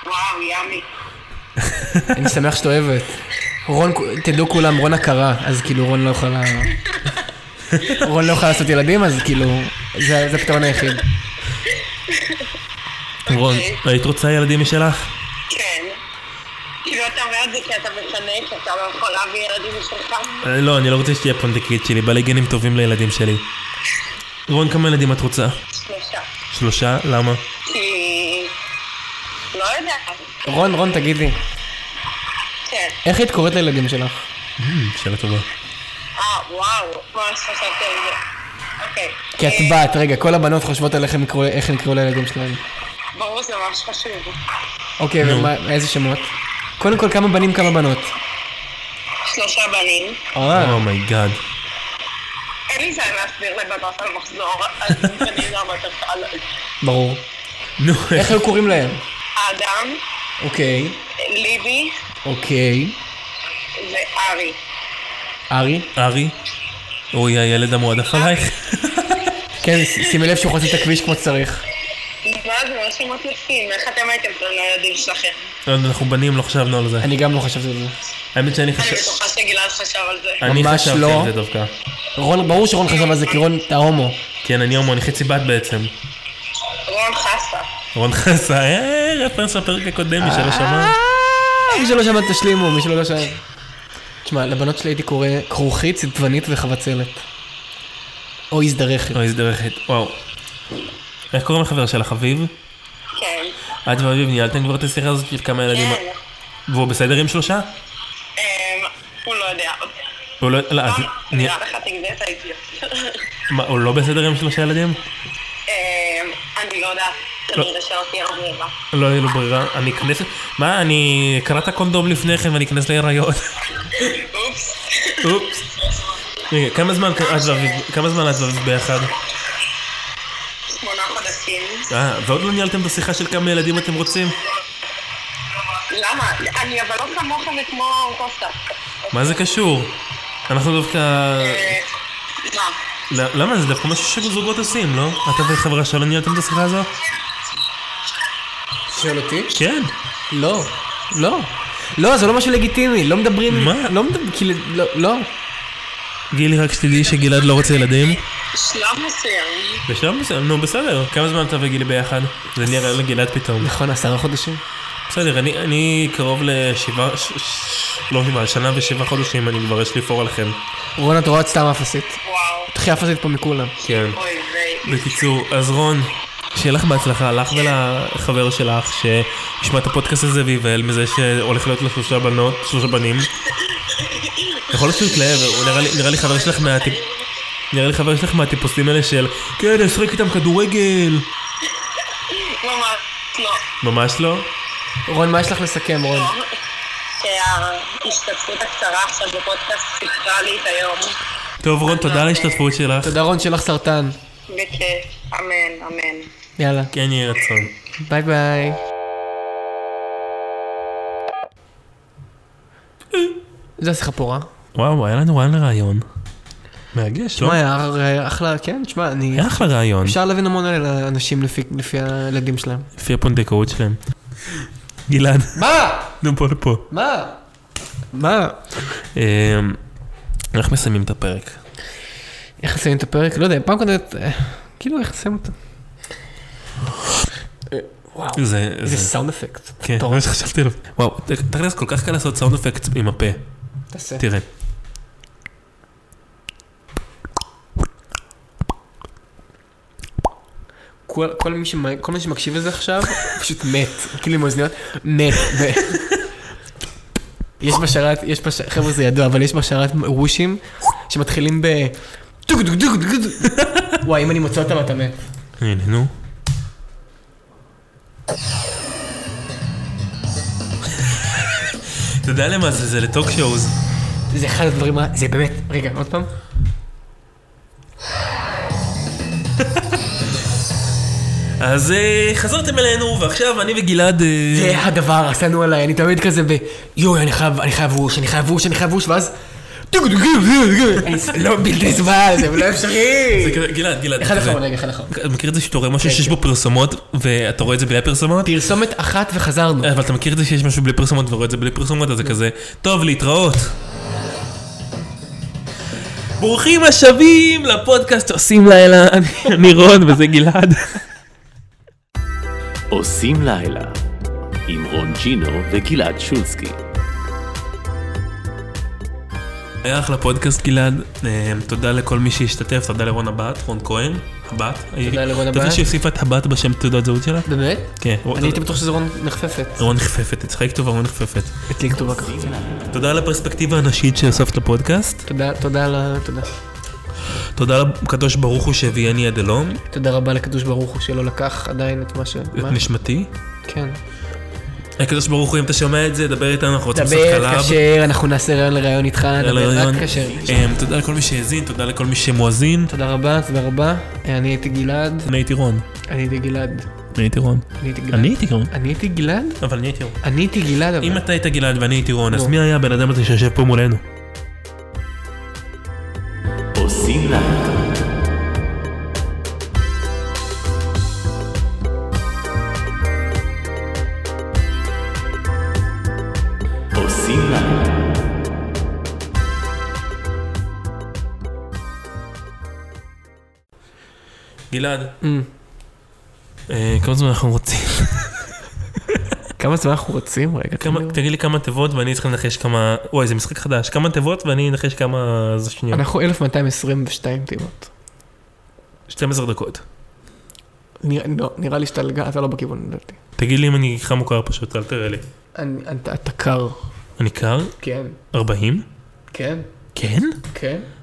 Speaker 4: וואו, ימי.
Speaker 1: אני שמח שאת אוהבת. רון, תדעו כולם, רון הכרה, אז כאילו רון לא יכולה... רון לא יכולה לעשות ילדים, אז כאילו, זה זה הפתרון היחיד.
Speaker 2: רון,
Speaker 1: אוקיי.
Speaker 2: היית רוצה ילדים משלך?
Speaker 4: כן. כאילו, אתה אומר את זה כי אתה משנה, כי אתה לא יכול להביא ילדים משלך.
Speaker 2: אה, לא, אני לא רוצה שתהיה פונדקאית שלי, בעלי גנים טובים לילדים שלי. רון, כמה ילדים את רוצה?
Speaker 4: שלושה.
Speaker 2: שלושה? למה?
Speaker 4: כי... לא יודעת.
Speaker 1: רון, רון, תגידי,
Speaker 4: כן.
Speaker 1: איך היית קוראת לילדים שלך?
Speaker 2: Mm, שאלה טובה.
Speaker 4: אה, וואו. ממש חשבתי על זה. אוקיי.
Speaker 1: כי את
Speaker 4: אה,
Speaker 1: בת, רגע, כל הבנות חושבות על איך הם יקראו- איך הם יקראו לילדים שלהם.
Speaker 4: ברור, זה ממש חשוב.
Speaker 1: אוקיי, ומה- איזה שמות? קודם כל, כמה בנים, כמה בנות.
Speaker 4: שלושה בנים.
Speaker 2: Oh
Speaker 1: אה,
Speaker 2: אומייגאד.
Speaker 4: אין לי זמן להסביר לבנות על מחזור, אז לא בנים זה הרבה יותר קל.
Speaker 1: ברור.
Speaker 2: נו,
Speaker 1: איך היו קוראים להם?
Speaker 4: אדם,
Speaker 1: אוקיי,
Speaker 4: ליבי
Speaker 1: אוקיי.
Speaker 4: וארי.
Speaker 1: ארי?
Speaker 2: ארי? אוי, הילד
Speaker 1: אה.
Speaker 2: המועדף עלייך?
Speaker 1: כן, ש- שימי לב שהוא חוצה את הכביש כמו שצריך.
Speaker 4: מה זה, מה שמות יפים? איך אתם הייתם קוראים לילדים שלכם?
Speaker 2: לא, אנחנו בנים, לא חשבנו על זה.
Speaker 1: אני גם לא חשבתי על זה.
Speaker 2: האמת שאני
Speaker 4: אני
Speaker 2: חשב-
Speaker 4: בטוחה שגלעד חשב על זה.
Speaker 2: אני
Speaker 1: ממש
Speaker 2: חשבתי
Speaker 1: לא.
Speaker 2: על זה דווקא.
Speaker 1: רון, ברור שרון חשב על זה, כי רון, אתה הומו.
Speaker 2: כן, אני הומו, אני חצי בת בעצם.
Speaker 4: רון חסה.
Speaker 2: רון חסה, אה, רפרנס לפרק הקודם, מי
Speaker 1: אה.
Speaker 2: שלא שמע.
Speaker 1: מי שלא שמע תשלימו, מי שלא לא שמע. תשמע, לבנות שלי הייתי קורא כרוכית, צדפנית וחבצלת. או הזדרכת.
Speaker 2: אוי, איזה דרכת, וואו. איך קוראים לחבר שלך, אביב?
Speaker 4: כן.
Speaker 2: את ואביב ניהלתם כבר את השיחה הזאת של כמה ילדים?
Speaker 4: כן.
Speaker 2: והוא בסדר עם שלושה?
Speaker 4: אמ, הוא לא יודע.
Speaker 2: הוא לא, לא, אז
Speaker 4: נראה
Speaker 2: נראה-
Speaker 4: לך תגבה את האידיוט.
Speaker 2: מה, הוא לא בסדר עם שלושה ילדים?
Speaker 4: אמ, אני לא יודעת. כנראה שלא תהיה לו ברירה.
Speaker 2: לא, אין לו ברירה, אני אכנס... מה, אני אקרע את הקונדום לפני כן ואני אכנס [LAUGHS] להיריון.
Speaker 4: אופס.
Speaker 2: אופס. רגע, כמה זמן את ואביב- כמה זמן את ואביב ביחד?
Speaker 4: שמונה חודשים.
Speaker 2: אה, ועוד לא ניהלתם את השיחה של כמה ילדים אתם רוצים?
Speaker 4: למה? אני אבל לא כמוך וכמו קוסטה.
Speaker 2: מה זה קשור? אנחנו דווקא...
Speaker 4: אה, מה?
Speaker 2: ל- למה? זה דווקא משהו שזוגות עושים, לא? אתה וחברה שלא ניהלתם את השיחה הזו?
Speaker 1: שואל אותי?
Speaker 2: כן.
Speaker 1: לא. לא. לא, זה לא משהו לגיטימי, לא מדברים...
Speaker 2: מה?
Speaker 1: לא מדברים, כאילו, לא, לא.
Speaker 2: גילי, רק שתדעי שגלעד לא רוצה ילדים.
Speaker 4: שלב מסוים.
Speaker 2: בשלב מסוים, נו בסדר. כמה זמן אתה וגילי ביחד? זה נהיה רעיון לגלעד פתאום.
Speaker 1: נכון, עשרה חודשים?
Speaker 2: בסדר, אני, אני קרוב לשבעה, ש, ש, לא שבעה, שנה ושבעה חודשים, אני כבר יש לי פור עליכם.
Speaker 1: רון, את רואה את סתם אפסית.
Speaker 4: וואו.
Speaker 1: הכי אפסית פה מכולם.
Speaker 2: כן.
Speaker 4: אוי ויי.
Speaker 2: בקיצור, אז רון, שיהיה לך בהצלחה, לך ולחבר שלך שישמע את הפודקאסט הזה וייבהל מזה שהולך להיות לו שלושה בנות, שלושה בנים. יכול להיות שהוא יתלהב, הוא נראה לי, נראה לי חבר שלך מהטיפ... נראה לי חבר שלך מהטיפוסים האלה של כן, אני אשחק איתם כדורגל.
Speaker 4: ממש לא.
Speaker 2: ממש לא.
Speaker 1: רון, מה יש לך לסכם, רון?
Speaker 4: שההשתתפות הקצרה עכשיו בפודקאסט סיפרה לי את היום.
Speaker 2: טוב רון, תודה על ההשתתפות שלך.
Speaker 1: תודה, רון, שלך סרטן.
Speaker 4: בכיף. אמן, אמן.
Speaker 1: יאללה.
Speaker 2: כן יהיה רצון.
Speaker 1: ביי ביי. זה השיחה פורה.
Speaker 2: וואו, היה לנו רעיון לרעיון. מרגש, לא?
Speaker 1: מה היה הר- אחלה, כן, תשמע, אני...
Speaker 2: היה אחלה רעיון,
Speaker 1: אפשר להבין המון על אנשים לפי, לפי הילדים שלהם.
Speaker 2: לפי הפונדקאות שלהם. גלעד,
Speaker 1: מה?
Speaker 2: נו בוא לפה.
Speaker 1: מה? מה?
Speaker 2: אמ, איך מסיימים את הפרק?
Speaker 1: איך נסיים את הפרק? לא יודע, פעם קודמת, אה, כאילו איך נסיים אותו?
Speaker 2: זה,
Speaker 1: איזה סאונד אפקט.
Speaker 2: כן,
Speaker 1: טוב.
Speaker 2: זה מה שחשבתי עליו. וואו, ת- תכלס כל כך קל לעשות סאונד אפקט עם הפה,
Speaker 1: תעשה.
Speaker 2: תראה.
Speaker 1: כל, כל, מי שמ- כל מי שמקשיב לזה עכשיו, פשוט מת, כאילו עם אוזניות, מת. ו... יש בשרת, יש בש... חבר'ה זה ידוע, אבל יש בשרת וושים שמתחילים ב... דוק דוק דוק דוק דוק. וואי, אם אני מוצא אותם אתה מת.
Speaker 2: הנה, נו. אתה יודע למה זה, זה לטוק שואוז.
Speaker 1: זה אחד הדברים, ה- זה באמת, רגע, עוד פעם.
Speaker 2: אז אה, חזרתם אלינו, ועכשיו אני וגלעד... אה,
Speaker 1: זה הדבר, עשינו עליי, אני תמיד כזה ב... יואי, אני חייב, אני חייב ווש, אני חייב ווש, אני חייב ווש, ואז... לא בלתי נסבל, זה לא אפשרי.
Speaker 2: זה כזה, גלעד, גלעד.
Speaker 1: אחד
Speaker 2: כזה-
Speaker 1: אחרון, רגע, אחד אחרון.
Speaker 2: אתה מכיר את זה שאתה רואה משהו
Speaker 1: כן,
Speaker 2: שיש
Speaker 1: כן.
Speaker 2: בו פרסומות, ואתה רואה את זה בלי הפרסומות?
Speaker 1: פרסומת אחת וחזרנו.
Speaker 2: אבל אתה מכיר את זה שיש משהו בלי פרסומות ורואה את זה בלי פרסומות,
Speaker 1: לא.
Speaker 2: אז זה כזה, טוב, להתראות. ברוכים השבים לפודקאסט עושים לילה, [LAUGHS] אני- אני רון וזה גלעד.
Speaker 3: עושים לילה עם רון ג'ינו וגלעד שולסקי.
Speaker 2: היה אחלה פודקאסט גלעד, אה, תודה לכל מי שהשתתף, תודה לרון הבת, רון כהן, הבת. אה,
Speaker 1: תודה לרון
Speaker 2: אתה יודע
Speaker 1: הבת.
Speaker 2: שהוסיפה את הבת בשם תעודת זהות שלה?
Speaker 1: באמת?
Speaker 2: כן.
Speaker 1: אני הייתי בטוח שזה רון נחפפת.
Speaker 2: רון חפפת, אצלך היא כתובה רון חפפת.
Speaker 1: אצלי כתובה ככה.
Speaker 2: תודה על הפרספקטיבה הנשית שהוספת לפודקאסט,
Speaker 1: תודה, תודה על ה... תודה.
Speaker 2: תודה לקדוש ברוך הוא שהביאני עד הלום,
Speaker 1: תודה רבה לקדוש ברוך הוא שלא לקח עדיין את מה ש...
Speaker 2: את
Speaker 1: מה?
Speaker 2: נשמתי.
Speaker 1: כן.
Speaker 2: הקדוש ברוך הוא, אם אתה שומע את זה, דבר איתנו, אנחנו רוצים לעשות
Speaker 1: דבר
Speaker 2: קלאב.
Speaker 1: כשר, אנחנו נעשה ראיון לראיון איתך, דבר רק כשר.
Speaker 2: אמ, תודה לכל מי שהאזין, תודה לכל מי שמואזין.
Speaker 1: תודה רבה, תודה רבה. אני הייתי גלעד.
Speaker 2: אני הייתי רון.
Speaker 1: אני הייתי גלעד.
Speaker 2: אני הייתי רון.
Speaker 1: אני הייתי גלעד.
Speaker 2: אני הייתי רון.
Speaker 1: אני הייתי גלעד?
Speaker 2: אבל אני הייתי רון.
Speaker 1: אני הייתי גלעד אבל.
Speaker 2: אם אתה היית גלעד ואני הייתי רון, אז
Speaker 1: לא.
Speaker 2: מי היה הבן אדם הזה שיושב פה מולנו?
Speaker 3: עושים לילה עושים לילה
Speaker 2: גלעד,
Speaker 1: אמ,
Speaker 2: אה, כמה זמן
Speaker 1: [LAUGHS]
Speaker 2: אנחנו רוצים?
Speaker 1: כמה זמן אנחנו רוצים? רגע,
Speaker 2: כמה-
Speaker 1: תגידו.
Speaker 2: תגיד לי כמה תיבות ואני צריך לנחש כמה... וואי, זה משחק חדש. כמה תיבות ואני אנחש כמה... זה שניות.
Speaker 1: אנחנו 1222 תיבות.
Speaker 2: 12 דקות.
Speaker 1: נראה- לא, נראה לי שאתה לג- אתה לא בכיוון לדעתי.
Speaker 2: תגיד לי אם אני חם או קר פשוט, אל תראה לי.
Speaker 1: אני- אתה אתה קר.
Speaker 2: אני קר?
Speaker 1: כן.
Speaker 2: 40?
Speaker 1: כן.
Speaker 2: כן?
Speaker 1: כן.